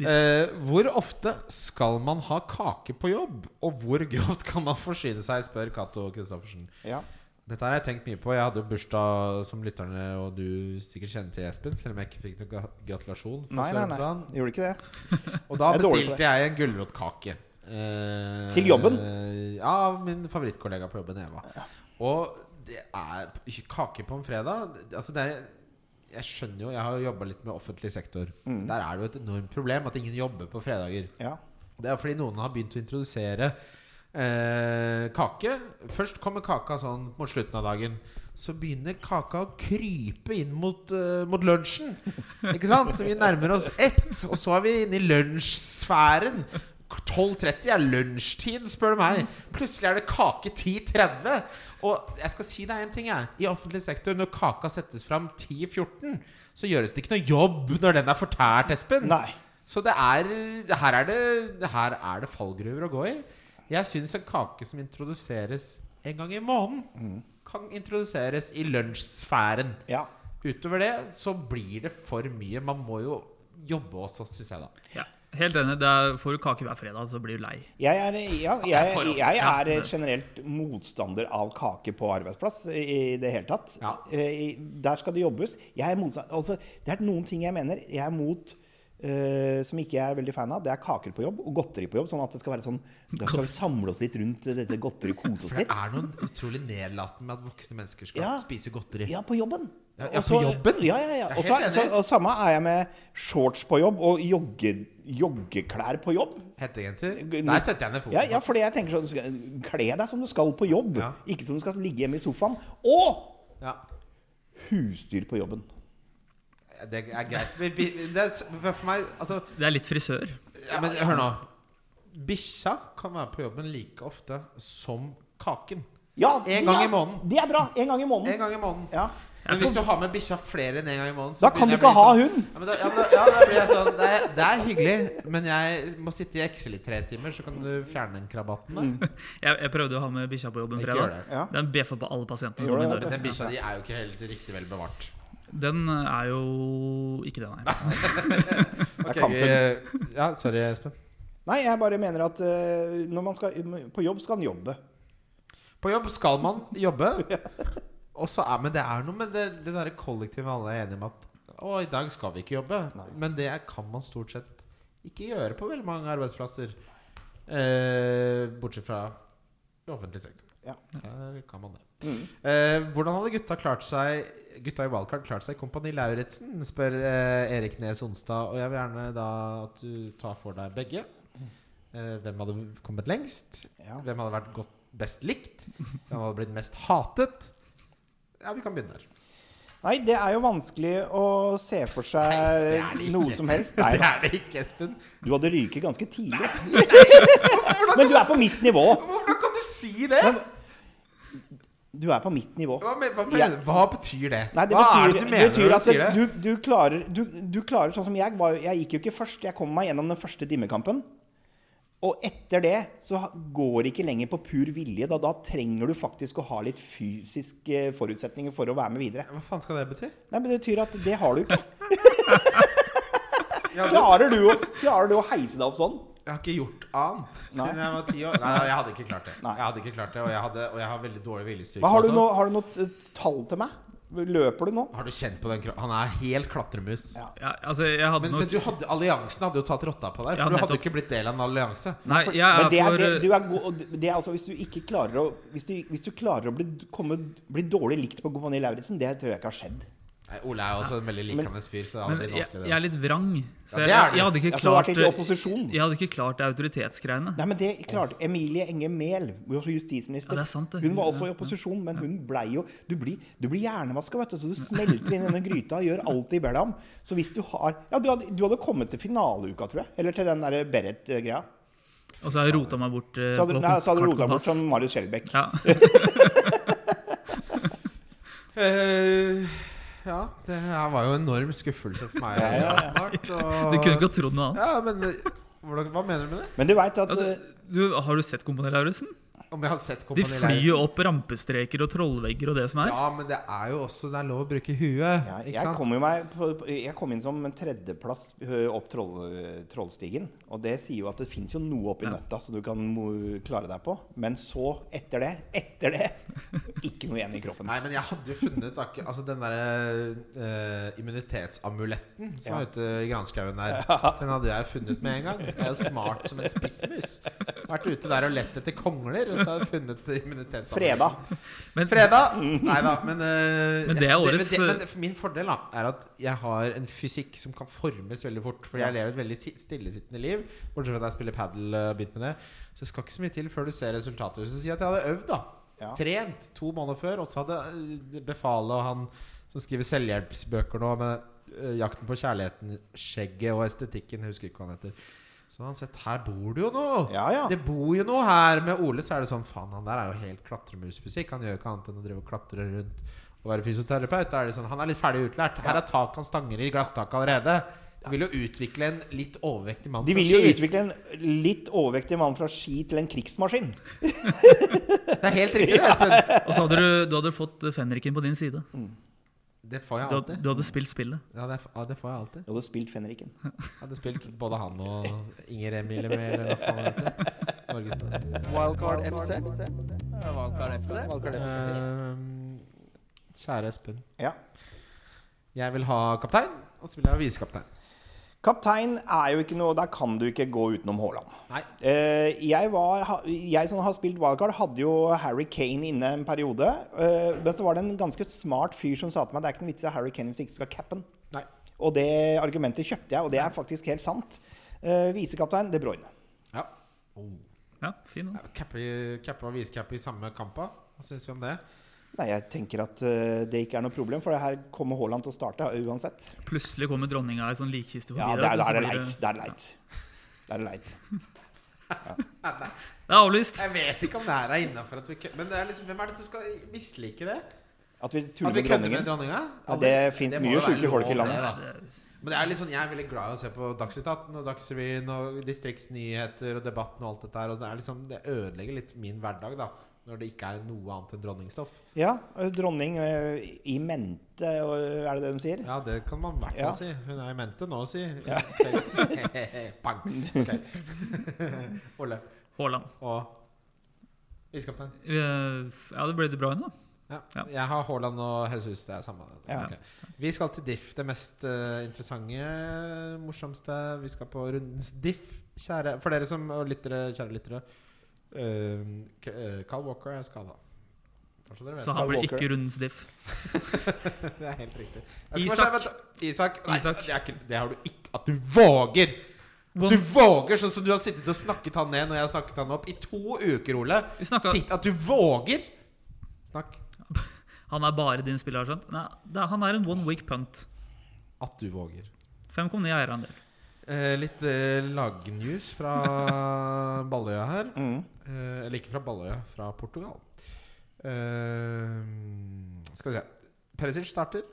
C: Eh, hvor ofte skal man ha kake på jobb? Og hvor grovt kan man forsyne seg, spør Cato Christoffersen.
A: Ja.
C: Dette har jeg tenkt mye på. Jeg hadde jo bursdag som lytterne og du sikkert kjenner til, Espen. Selv om jeg ikke fikk noen gra- gratulasjon. fra
A: Nei, nei, nei.
C: Sørumsand.
A: Gjorde ikke det.
C: Og da
A: Jeg er dårlig på
C: bestilte jeg en gulrotkake. Eh,
A: Til jobben?
C: eh, Ja, min favorittkollega på jobben, Eva. Og det er kake på en fredag det- Altså, det er jeg skjønner jo, jeg har jo jobba litt med offentlig sektor.
A: Mm.
C: Der er det jo et enormt problem at ingen jobber på fredager.
A: Ja.
C: Det er fordi noen har begynt å introdusere eh, kake. Først kommer kaka sånn mot slutten av dagen. Så begynner kaka å krype inn mot, eh, mot lunsjen. Ikke sant? Vi nærmer oss ett, og så er vi inne i lunsjsfæren. 12.30 er lunsjtid, spør du meg. Plutselig er det kake 10.30. Og jeg skal si deg en ting, jeg. I offentlig sektor, når kaka settes fram 10.14, så gjøres det ikke noe jobb når den er fortært, Espen.
A: Nei.
C: Så det er, her, er det, her er det fallgruver å gå i. Jeg syns en kake som introduseres en gang i måneden, kan introduseres i lunsjsfæren.
A: Ja.
C: Utover det så blir det for mye. Man må jo jobbe også, syns jeg, da.
D: Ja. Helt enig. Det er, får du kake hver fredag, så blir du lei.
A: Jeg er, ja, jeg,
D: for ofte.
A: jeg
D: Ja,
A: er
D: det-
A: generelt motstander av kake på arbeidsplass i i det hele tatt.
C: Ja.
A: Eh, i- Der skal det jobbes. Jeg er motstand- altså, det er noen ting jeg mener jeg er mot eh, som ikke jeg er veldig fan av. Det er kaker på jobb og godteri på jobb. Sånn at det skal være sånn Da skal vi samle oss litt rundt dette godteriet, kose oss
C: For det
A: litt.
C: er noe utrolig nedlatende med at voksne mennesker skal
A: Ja.
C: spise godteri.
A: Ja, på jobben.
C: Ja, ja,
A: Og så-
C: på jobben?
A: Ja, ja, ja.
C: Jeg er
A: Og så,
C: helt
A: så,
C: enig.
A: og samme er jeg med shorts på jobb og jogge, joggeklær på jobb.
C: Hettegenser. Der setter jeg ned foten.
A: Ja, ja, fordi jeg tenker sånn du skal- Kle deg som du skal på jobb,
C: Ja.
A: ikke som du skal ligge hjemme i sofaen. Og
C: Ja.
A: husdyr på jobben.
C: Det er greit. Vi- vi- Det er, s- for meg, altså
D: Det er litt frisør.
C: Ja, men hør nå. Bikkja kan være på jobben like ofte som kaken.
A: Ja,
C: En
A: det
C: gang
A: er-
C: i måneden.
A: Det er bra. En gang i måneden.
C: En gang i måneden.
A: Ja.
C: Men hvis du har med bikkja flere enn en gang i måneden så
A: Da kan du
C: begynner
A: ikke
C: jeg å bli
A: ha
C: sånn-
A: hund.
C: Ja, men da, ja, da, ja, da blir jeg sånn det er, det er hyggelig, men jeg må sitte i Excel i tre timer, så kan du fjerne den krabaten.
A: Mm.
C: Da.
D: Jeg, jeg prøvde å ha med bikkja på jobben
C: Ikke
D: fredag.
C: gjør det.
A: Ja.
D: Den bjeffa på alle pasientene.
A: Gjorde
D: som
A: det,
D: kom
C: Den
D: inn døren.
C: bikkja di er jo ikke helt riktig vel bevart.
D: Den er jo ikke det, nei.
A: Det
C: Ok,
A: er kampen.
C: vi- ja, sorry, Espen.
A: Nei, jeg bare mener at eh, når man skal på jobb, skal man jobbe.
C: På jobb skal man jobbe. Og så er, men det er noe med det, det derre kollektivet alle er enige om at Å, i dag skal vi ikke jobbe.
A: Nei.
C: Men det kan man stort sett ikke gjøre på veldig mange arbeidsplasser. Eh, bortsett fra i offentlig sektor.
A: Ja.
C: Der kan man det. Eh, hvordan hadde gutta klart seg Gutta i Wildcard klart seg i Kompani Lauritzen? Spør eh, Erik Nes Onsdag. Og jeg vil gjerne da at du tar for deg begge. Eh, hvem hadde kommet lengst?
A: Ja.
C: Hvem hadde vært godt, best likt? Hvem hadde blitt mest hatet? Ja, vi kan begynne der.
A: Nei, det er jo vanskelig å se for seg
C: det er det ikke.
A: noe som helst.
C: Det
A: Nei, da.
C: er det ikke, Espen.
A: Du hadde ryket ganske tidlig.
C: Hvordan
A: Men
C: kan,
A: du er på mitt nivå.
C: hvordan kan du si det?
A: Men- Du er på mitt nivå.
C: Hva, men, hva,
A: Ja.
C: mener, hva betyr det?
A: Nei, det
C: hva
A: betyr,
C: er det du mener
A: betyr
C: når du sier
A: at
C: det?
A: du, du, klarer, du, du klarer sånn som jeg var, jo- Jeg gikk jo ikke først. Jeg kom meg gjennom den første dimmekampen. Og etter det så ha- går det ikke lenger på pur vilje. Da, da trenger du faktisk å ha litt fysiske forutsetninger for å være med videre.
C: Hva faen skal det bety?
A: Nei, men Det betyr at det har du ikke.
C: Jeg hadde,
A: Klarer du å, klarer du å heise deg opp sånn?
C: jeg har ikke gjort annet siden
A: Nei.
C: jeg var ti år. Nei, jeg hadde ikke klart det.
A: Nei.
C: Jeg hadde ikke klart det, Og jeg, hadde, og jeg har veldig dårlig viljestyrke.
A: Hva, har, du
C: også.
A: noe, har du noe t- t- tall til meg? Løper du nå?
C: Har du kjent på den kro- Han er helt klatremus.
A: Ja.
D: Ja, altså, jeg hadde
C: Men, men
D: nok
C: du hadde, alliansen hadde jo tatt rotta på deg. For
D: Ja,
C: du hadde
D: nettopp.
C: jo ikke blitt del av en allianse.
D: Nei, jeg
A: Men
D: er
A: det er,
D: for
A: det, du er god, og det er altså hvis du ikke klarer å Hvis du, hvis du klarer å bli, komme, bli dårlig likt på Kompani Lauritzen, det tror jeg ikke har skjedd.
C: Nei, Ole er jo også en veldig likende fyr, så det hadde
D: Men
C: blitt
D: jeg,
C: vanskelig.
D: jeg er litt vrang. Så
C: Ja,
D: jeg,
C: det er du.
D: jeg hadde ikke
A: Jeg så vært
D: klart eh,
A: litt i opposisjon.
D: Jeg hadde ikke klart det autoritetsgreiene.
A: Nei, men det klarte Emilie Enger Mehl, vår justisminister.
D: Ja, det er sant, det.
A: Hun var også i opposisjon, men hun blei jo Du blir, du blir hjernevaska, vet du, så du smelter inn i denne gryta og gjør alt de ber deg om. Så hvis du har Ja, du hadde, du hadde kommet til finaleuka, tror jeg. Eller til den derre Beret-greia.
D: Og så har jeg rota meg bort. eh,
A: Så hadde,
D: på
A: nei, så hadde du
D: kart og
A: rota bort sånn-
D: pass.
A: som Marius Skjelbæk.
D: ja.
C: Eh, ja, det her var jo en enorm skuffelse for meg.
A: Ja, ja, ja.
C: åpenbart, og-
D: Du kunne ikke ha trodd noe annet.
C: Ja, men eh, hvordan, hva mener du med det?
A: Men du veit at
D: Ja,
A: eh,
D: du, Altså, du, har du sett Kompani Lauritzen?
C: Om jeg har sett
D: De
C: Kompani
D: flyr
C: Lauritzen?
D: jo opp rampestreker og trollvegger og det som er.
C: Ja, men det er jo også Det er lov å bruke huet.
A: Ja,
C: ikke
A: jeg
C: sant?
A: kom, jo meg på, på- jeg kom inn som en tredjeplass ø, opp troll, Trollstigen. Og det sier jo at det fins jo noe oppi
D: Ja.
A: nøtta som du kan mo- klare deg på. Men så, etter det, etter det Ikke noe igjen i kroppen.
C: Nei, men jeg hadde jo funnet akkur- altså, den derre immunitetsamuletten som
A: Ja.
C: er ute i granskauen der. Den hadde jeg funnet med en gang. Jeg er jo smart som en spissmus. Vært ute der og lett etter kongler, og så har jeg funnet immunitetsamuletten.
A: Fredag.
D: Men,
C: Fredag! Nei da, men eh,
D: Men det er årets- eh,
C: det, men Min fordel da er at jeg har en fysikk som kan formes veldig fort. For jeg lever et veldig si- stillesittende liv, bortsett fra at jeg spiller padel og har begynt med det. Så det skal ikke så mye til før du ser resultater. Så si at jeg hadde øvd, da.
A: Ja.
C: Trent to måneder før. Og så hadde eh, befalet og han som skriver selvhjelpsbøker nå, med eh, 'Jakten på kjærligheten', 'Skjegget' og estetikken, jeg husker ikke hva han heter. Så har han sett Her bor det jo noe!
A: Ja, ja.
C: Det bor jo noe her med Ole, så er det sånn Faen, han der er jo helt klatremusfysikk. Han gjør jo ikke annet enn å drive og klatre rundt og være fysioterapeut. Da er det sånn, Han er litt ferdig utlært. Her er tak han stanger i glasstaket allerede. De vil jo utvikle en litt overvektig mann.
A: De
C: fra
A: vil jo
C: Ski.
A: utvikle en litt overvektig mann fra ski til en krigsmaskin.
C: Det er helt riktig, det, Espen.
D: og så hadde du, du hadde fått Fenriken på din side.
C: Det får jeg
D: Du, hadde-
C: alltid.
D: du hadde spilt spillet.
C: Ja, det, ja, det får jeg alltid.
A: Du hadde spilt fenriken.
C: Jeg hadde spilt både han og Inger Emilie med, eller hva faen det heter. Norges-
B: Wildcard FC. Wildcard FC.
C: Ehm, Kjære Espen.
A: Ja.
C: Jeg vil ha kaptein, og så vil jeg ha visekaptein.
A: Kaptein er jo ikke noe Der kan du ikke gå utenom Haaland.
C: Nei.
A: Eh, jeg, var, ha- jeg som har spilt wildcard, hadde jo Harry Kane inne en periode. eh, men så var det en ganske smart fyr som sa til meg det er ikke noe vits i å ha Harry Kane hvis du ikke skal cappe den.
C: Nei.
A: Og det argumentet kjøpte jeg, og det er faktisk helt sant. Eh, Visekaptein De Bruyne.
C: Ja. Oh.
D: Ja, fin da.
C: Ja, Cappe cappe og visecappe i samme kampa. Hva syns vi om det?
A: Nei, jeg tenker at eh, det ikke er noe problem, for det her kommer Haaland til å starte uansett.
D: Plutselig kommer dronninga i sånn likkiste forbi
A: Ja,
D: deg,
A: det er,
D: og
A: da
D: så
A: er det
D: blir
A: leit. Det er leit. Det er leit.
D: Det er avlyst.
C: Jeg vet ikke om det her er innafor at vi kø- Men det er liksom, hvem er det som skal mislike det?
A: At vi
C: At
A: tuller
C: vi
A: med
C: kødder
A: dronningen.
C: med dronninga?
A: Ja, det finnes
C: må
A: mye
C: jo være
A: sjuke folk i
C: lov,
A: landet.
C: det, da.
D: Det er-
C: Men det er litt sånn, jeg er veldig glad i å se på Dagsnytt 18 og Dagsrevyen og distriktsnyheter og debatten og alt dette her. Og det, er liksom, det ødelegger litt min hverdag, da. Når det ikke er noe annet enn dronningstoff.
A: Ja, eh, dronning eh, i mente, og- er det det de sier?
C: Ja, det kan man i hvert fall
A: Ja.
C: si. Hun er i mente nå, si. Selv- Bang! Ok. Ole
D: Haaland.
C: og visekaptein.
D: Eh, Ja, det ble det bra ennå.
C: Ja.
D: Ja.
C: Jeg har Haaland og Jesus. Det er samme.
A: Ja.
C: Ok. Vi skal til diff. Det mest eh, interessante, morsomste. Vi skal på rundens diff. Kjære, for dere som og lyttere, kjære lyttere Ehm, K- eh, Kyle Walker er skada. Så dere vet.
D: Så han
A: Kyle
D: blir
A: Walker.
D: ikke rundens diff.
C: det er helt riktig. Jeg skal
D: Isak.
C: bare se- vent da. Isak. Nei,
D: Isak.
C: Det, er ikke, det har du ikke At du våger! At
D: One-
C: du våger, sånn som du har sittet og snakket han ned når jeg har snakket han opp i to uker, Ole.
D: Vi snakket-
C: Sitt, at du våger! Snakk.
D: Han er bare din spiller, har jeg skjønt. Nei, det er, han er en one week punt.
C: At du våger.
D: 5,9 eierandel.
C: Eh, litt eh, lagnews fra Balløya her.
A: Mm.
C: Eh, eller ikke fra Balløya, fra Portugal. Eh, skal vi se. Perisic starter.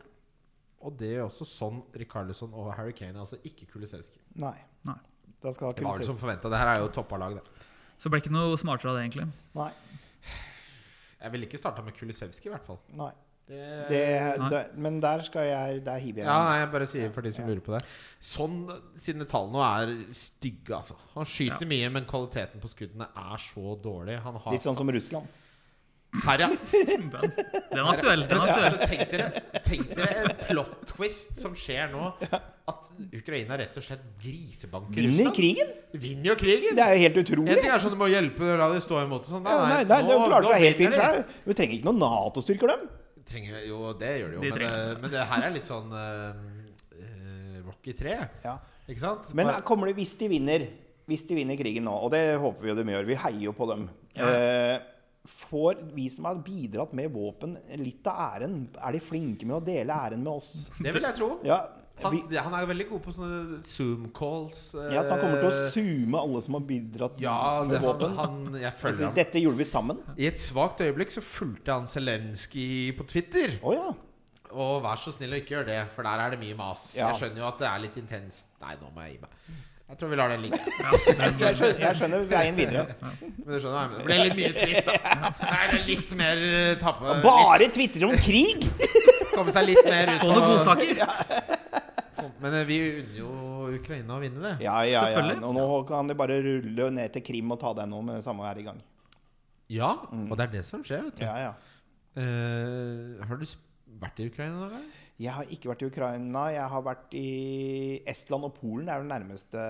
C: Og det gjør også sånn Rikarlison og Harry Kane, altså ikke Kulisevskij.
A: Nei.
D: Nei.
A: Da skal
C: Det var vel som
A: Kulisevskij
C: forventa. Det her er jo toppa lag, det.
D: Så ble ikke noe smartere av det, egentlig.
A: Nei.
C: Jeg ville ikke starta med Kulisevskij, i hvert fall.
A: nei.
C: Det-
A: Det,
D: Nei.
A: det, men der skal jeg Der hiver jeg
C: ja,
A: meg.
C: nei, jeg bare sier for de som lurer på det. Sånn, Sine tall nå er stygge, altså. Han skyter
D: Ja.
C: mye, men kvaliteten på skuddene er så dårlig. Han har
A: Litt sånn som Russland.
C: Her, ja!
D: Den, den er aktuell. Den er
C: Ja,
D: aktuell.
C: altså, tenk, dere, tenk dere en plot twist som skjer nå. At Ukraina rett og slett grisebanker
A: Vinner
C: Russland.
A: krigen!
C: Vinner jo krigen!
A: Det er jo helt
C: En
A: utrolig.
C: ting er sånn du må hjelpe og la de stå imot og sånn.
A: Ja, nei, nei, de
C: nå-
A: klarer
C: nå
A: seg helt
C: vinner
A: fint
C: de.
A: sjøl. Vi trenger ikke noen Nato-styrker, dem.
C: Trenger, jo, det gjør de jo.
D: De
C: men,
D: trenger
C: det, men det her er litt sånn eh, eh, Rocky 3.
A: Ja.
C: Ikke sant?
A: Men
C: Bare-
A: kommer det hvis de vinner Hvis de vinner krigen nå, og det håper vi jo de gjør, vi heier jo på dem eh, Får vi som har bidratt med våpen, litt av æren? Er de flinke med å dele æren med oss?
C: det vil jeg tro.
A: Ja,
C: Han,
A: vi,
C: han er veldig god på sånne Zoom-calls.
A: ja så han kommer til å
C: eh,
A: zoome alle som har bidratt
C: Ja,
A: med
C: det, han,
A: våpen?
C: han, jeg følger
A: Altså,
C: ham.
A: dette gjorde vi sammen?
C: I et svakt øyeblikk så fulgte han Zelenskyj på Twitter.
A: Å ja.
C: Og vær så snill å ikke gjøre det, for der er det mye mas.
A: Ja.
C: Jeg skjønner jo at det er litt intenst. Nei, nå må jeg gi meg. Jeg tror vi lar den ligge.
D: Ja,
A: Jeg
D: den,
A: skjønner, jeg skjønner veien videre.
C: Men du skjønner, hva jeg mener. det ble litt mye tweets, da. Det er litt mer eh, tappe
A: Bare tvitrer om krig!
C: litt- Komme seg litt mer ut
D: få noen godsaker!
C: Men eh, vi unner jo Ukraina å vinne det.
A: Ja, ja, ja.
D: Selvfølgelig.
A: Nå, nå kan de bare rulle ned til Krim og ta den nå med samme her i gang.
C: Ja, og det er det som skjer, vet du.
A: Mm. Ja, ja.
C: Eh, har du sp- vært i Ukraina noen gang?
A: Jeg har ikke vært i Ukraina. Jeg har vært i Estland og Polen. Det er vel nærmeste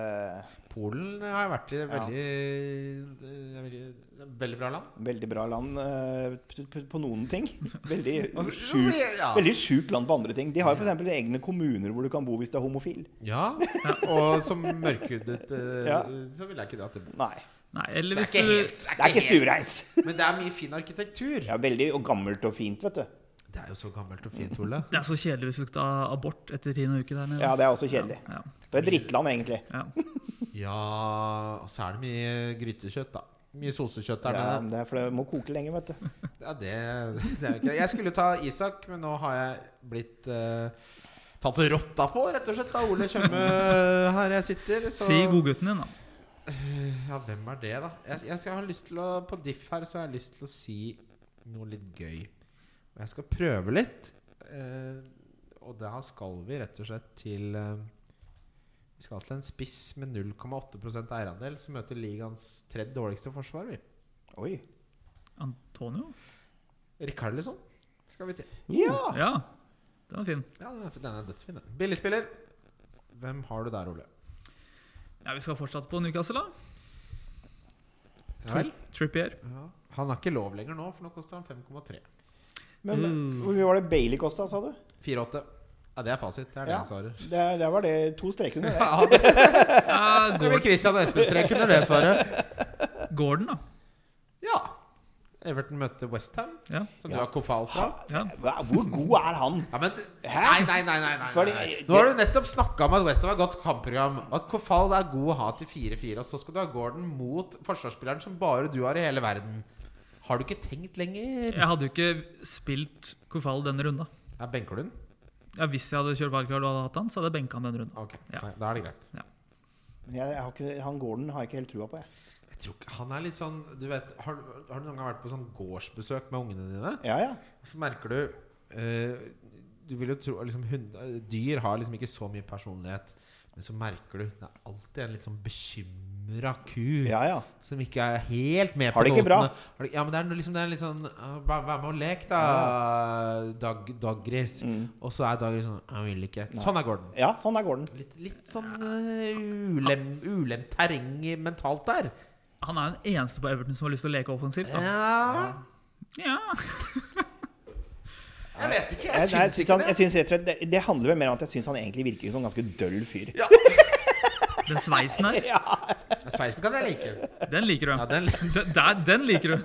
C: Polen har jeg vært i. Veldig, det er veldig, det er veldig bra land.
A: veldig bra land eh, p- p- på noen ting. Veldig
C: Altså,
A: sjukt
C: ja.
A: veldig sjukt land på andre ting. De har jo f.eks. egne kommuner hvor du kan bo hvis du er homofil.
C: Ja, og som mørkhudet eh,
A: Ja.
C: så ville jeg ikke dratt til Polen.
A: Nei.
D: Nei, eller
C: Det
D: hvis
C: er ikke
D: du
C: helt-
A: Det er ikke stuereint.
C: Men det er mye fin arkitektur.
A: Det er veldig og gammelt og fint, vet du.
C: Det er jo så gammelt og fint, Ole.
D: Det er så kjedelig hvis du skal ta abort etter tiende uke der nede.
A: Ja, det er også kjedelig.
D: Ja,
A: Det er et drittland, egentlig.
D: ja.
C: Ja, og så er det mye grytekjøtt, da. Mye sosekjøtt der
A: Ja, men
C: nede.
A: det er for det må koke lenge, vet du.
C: Ja, det, det er jo greit. Jeg skulle ta Isak, men nå har jeg blitt eh, tatt og rotta på, rett og slett, av Ole Tjøme eh, her jeg sitter. Så
D: Si godgutten din, da.
C: Eh, Ja, hvem er det, da? Jeg, jeg skal ha lyst til å På diff her så har jeg lyst til å si noe litt gøy. Og jeg skal prøve litt. eh, og da skal vi rett og slett til eh, Vi skal til en spiss med 0,8 eierandel som møter ligaens tredje dårligste forsvar, vi.
A: Oi.
D: Antonio?
C: Rikarlison skal vi til.
A: Ja!
D: Ja, den er fin.
C: Ja, den er, den er dødsfin, den. Billigspiller. Hvem har du der, Ole?
D: Ja, Vi skal fortsatt på Newcastle, da.
C: Ja, vel?
D: Trippier.
C: Ja. Han har ikke lov lenger nå, for nå koster han 5,3.
A: Men
D: Mm.
A: hvor mye var det Bailey kosta, sa du?
C: 4,8. Ja, det er fasit. Det er det
A: Ja.
C: jeg svarer.
A: Det, der var det to streker under det.
C: Ja, det
D: Ja,
C: blir
D: Gord-
C: Christian Espen-strek under det svaret.
D: Gordon, da.
C: Ja. Everton møtte Westham,
D: Ja.
C: som
A: Ja.
C: du har kofal fra.
D: Ja.
A: Hva- Hvor god er han?
C: Ja, men det-
A: Hæ?
C: Nei, nei, nei. nei, nei,
A: Fordi-
C: nei. Nå har du nettopp snakka om at Westham har godt kampprogram. At Kofal er god å ha til 4-4. Og så skal du ha Gordon mot forsvarsspilleren som bare du har i hele verden. Har du ikke tenkt lenger?
D: Jeg hadde jo ikke spilt Kofal denne runda.
C: Ja, Benker du den?
D: Ja, Hvis jeg hadde kjørt valgkart og hadde hatt han, så hadde jeg benka han denne runda.
C: Ok,
D: Ja.
C: nei, da er det greit.
A: Men Jeg, jeg har ikke, han Gordon har jeg ikke helt trua på, jeg.
C: Jeg tror ikke, han er litt sånn Du vet, har, du- har du noen gang vært på sånn gårdsbesøk med ungene dine?
A: Ja, ja.
C: Og så merker du eh, Du vil jo tro liksom, hund, eh, Dyr har liksom ikke så mye personlighet. Men så merker du det er alltid en litt sånn bekymra ku
A: ja, ja.
C: som ikke er helt med på
A: Har det ikke bra.
C: Har det- Ja, men det er noe- liksom det er litt sånn «Ah, Vær vær med og lek, da, dag, daggris.
A: Mm.
C: Og så er daggris sånn Jeg vil ikke. Sånn er Gordon.
A: Ja, sånn er Gordon.
C: Litt, litt sånn eh, ulem, ulemt terreng mentalt der.
D: Han er den eneste på Everton som har lyst til å leke offensivt. Da.
C: Ja.
D: Ja.
C: Jeg vet ikke.
A: Jeg, nei, jeg
C: Jeg syns
A: synes
C: ikke
A: han, jeg
C: det.
A: synes rett og slett, det, det handler vel mer om at jeg syns han egentlig virker som en ganske døll fyr.
C: Ja.
D: Den sveisen her,
C: Sveisen kan jeg like.
D: den liker du.
C: Ja, den li-
D: Den, der, den liker du.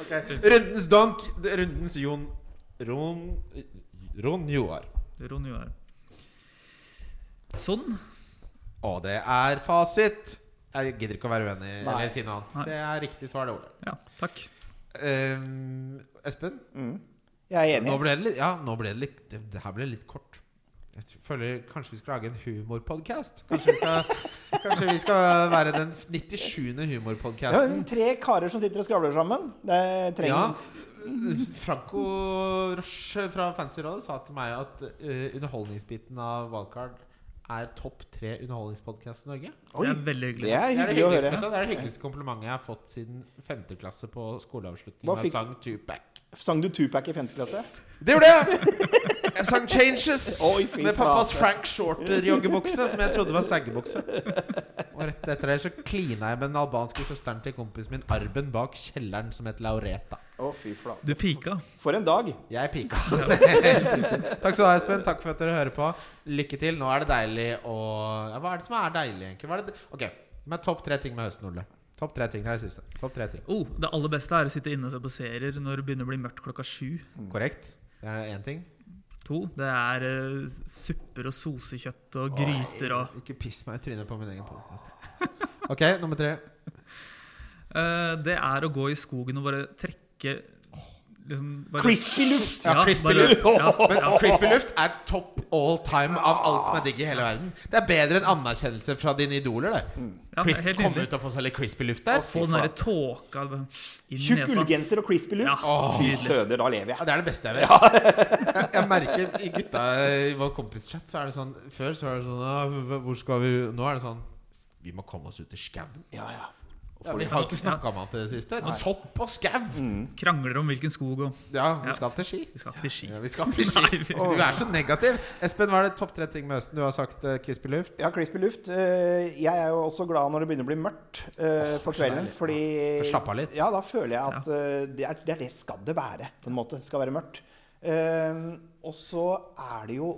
C: Ok. Rundens donk. Rundens Jon Ron Ron Joar.
D: Ron Joar. Sånn.
C: Og det er fasit. Jeg gidder ikke å være uenig
A: Nei.
C: eller si noe annet.
D: Nei.
C: Det er riktig svar, det ordet.
D: Ja, takk.
C: Ehm, Espen,
A: Jeg er
C: nå
A: enig.
C: ble det litt Ja, nå ble det litt Det, det her ble litt kort. Jeg t- føler Kanskje vi skal lage en humorpodkast? Kanskje, vi skal- kanskje vi skal være den 97.
A: Det er jo
C: humorpodkasten?
A: tre karer som sitter og skravler sammen. Det
C: Ja.
A: trenger
C: Franco Roche fra Fancyrådet sa til meg at eh, underholdningsbiten av Wildcard er topp tre underholdningspodkast i Norge.
D: Det er veldig
A: Det
D: hyggelig.
A: er
C: Det er det
A: hyggelig å
C: hyggeligste,
A: høre.
C: vet du, det er det hyggeligste komplimentet jeg har fått siden femte klasse på skoleavslutningen.
A: Hva fikk-
C: da Jeg sang Tupac.
A: Sang du Tupac i 5. klasse?
C: Det gjorde jeg! Jeg sang 'Changes'
A: Oi, fy
C: med pappas
A: flate.
C: Frank Shorter-joggebukse, som jeg trodde var saggebukse. Og rett etter det så klina jeg med den albanske søsteren til kompisen min Arben bak kjelleren, som het Laureta.
A: Å, fy flate.
D: Du pika.
A: For en dag.
C: Jeg pika. Takk skal du ha, Espen. Takk for at dere hører på. Lykke til. Nå er det deilig å ja, Hva er det som er deilig, egentlig? Hva er det... Ok, med topp tre ting med høsten, Ole. Topp tre ting. Det er det siste. Topp tre ting.
D: Oh, det aller beste er å sitte inne og se på serier når det begynner å bli mørkt klokka sju.
C: Mm. Korrekt. Det er én ting.
D: To, det er eh, supper og sosekjøtt og gryter og
C: Ikke piss meg i trynet på min egen podkast. OK, nummer tre.
D: Eh, Det er å gå i skogen og bare trekke liksom, bare,
A: Crispy luft!
C: Ja,
D: Ja,
C: crispy
D: bare-
C: luft.
D: ja,
C: Men crispy luft er top all time av alt som er digg i hele verden. Det er bedre enn anerkjennelse fra dine idoler, det.
D: Ja,
C: Crisp-
D: helt
C: Komme
D: nydelig.
C: ut og få seg litt crispy luft der.
D: Få den derre tåka inn i
A: Tjukk
D: nesa.
A: ullgenser og crispy luft.
D: Ja,
A: Fy
D: nydelig.
A: søder, da lever
C: Ja,
A: jeg.
C: det er det beste jeg vet. Jeg, jeg merker i gutta i vår kompischat, så er det sånn Før så er det sånn «Ah, Hvor skal vi Nå er det sånn Vi må komme oss ut i skauen.
A: Ja, ja.
C: Ja, vi har jo ikke snakka om alt i det siste. Sopp og skau!
D: Krangler om hvilken skog og
C: Ja, vi
D: Ja.
C: skal til Ski.
D: Vi skal ikke til ski.
C: Ja, vi skal til ski.
D: Nei, vi-
C: Åh, Du er så negativ. Espen, hva er det topp tre ting med høsten? Du har sagt uh, crispy luft.
A: Ja, crispy luft. Eh, Jeg er jo også glad når det begynner å bli mørkt eh, på kvelden.
C: deilig.
A: Fordi
C: Ja, slapp av litt.
A: Ja, da føler jeg at eh, det, er, det er det skal det være, på en måte. Det skal være mørkt. Eh, og så er det jo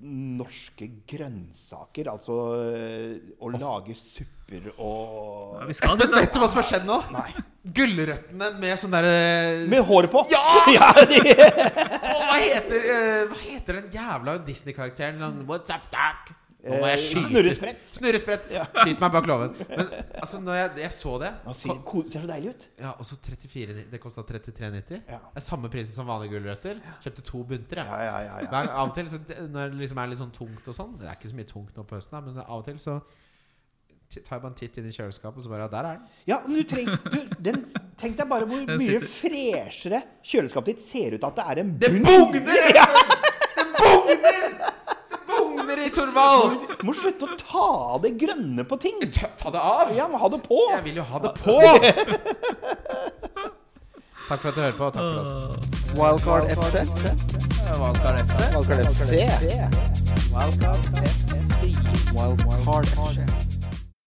A: norske grønnsaker. Altså eh, å lage supper og
D: Ja, vi skal
C: Espen,
D: dit, da.
C: vet du hva som har skjedd nå?
A: Nei.
C: Gulrøttene med sånn derre
A: Med håret på!
C: Ja!
A: de-
C: Hva heter eh, Hva heter den jævla Disney-karakteren? Sånn, What's up, Doc? Nå må jeg
A: Eh,
C: skyte.
A: Snurresprett.
C: Snurresprett. Skyt meg bak låven. Men altså, når jeg, jeg så det
A: Nå ser, ko- ser så deilig ut.
C: ja, og så 34, Det kosta 33,90.
A: Ja.
C: Det er samme prisen som vanlige gulrøtter. Kjøpte to bunter. jeg.
A: Ja, ja, ja. ja.
C: Hver, av og til så, når det liksom er litt sånn tungt og sånn Det er ikke så mye tungt nå på høsten, da, men av og til så t- tar jeg bare en titt inn i kjøleskapet, og så bare Ja, der er den.
A: Ja, men du treng, du, den, Tenk deg bare hvor
D: Den
A: mye
D: sitter.
A: freshere kjøleskapet ditt ser ut at det er en
C: Det
A: bunn.
C: bugner! Det bugner! Det bugner i Torvald!
A: Du må slutte å ta av det grønne på ting.
C: Ta det av!
A: Ja, men ha det på.
C: Jeg vil jo ha det på! takk for at dere hører på, og takk for oss.
B: Wildcard FC. Wildcard FC.
A: Se.
B: Wildcard FC. Wildcard FC.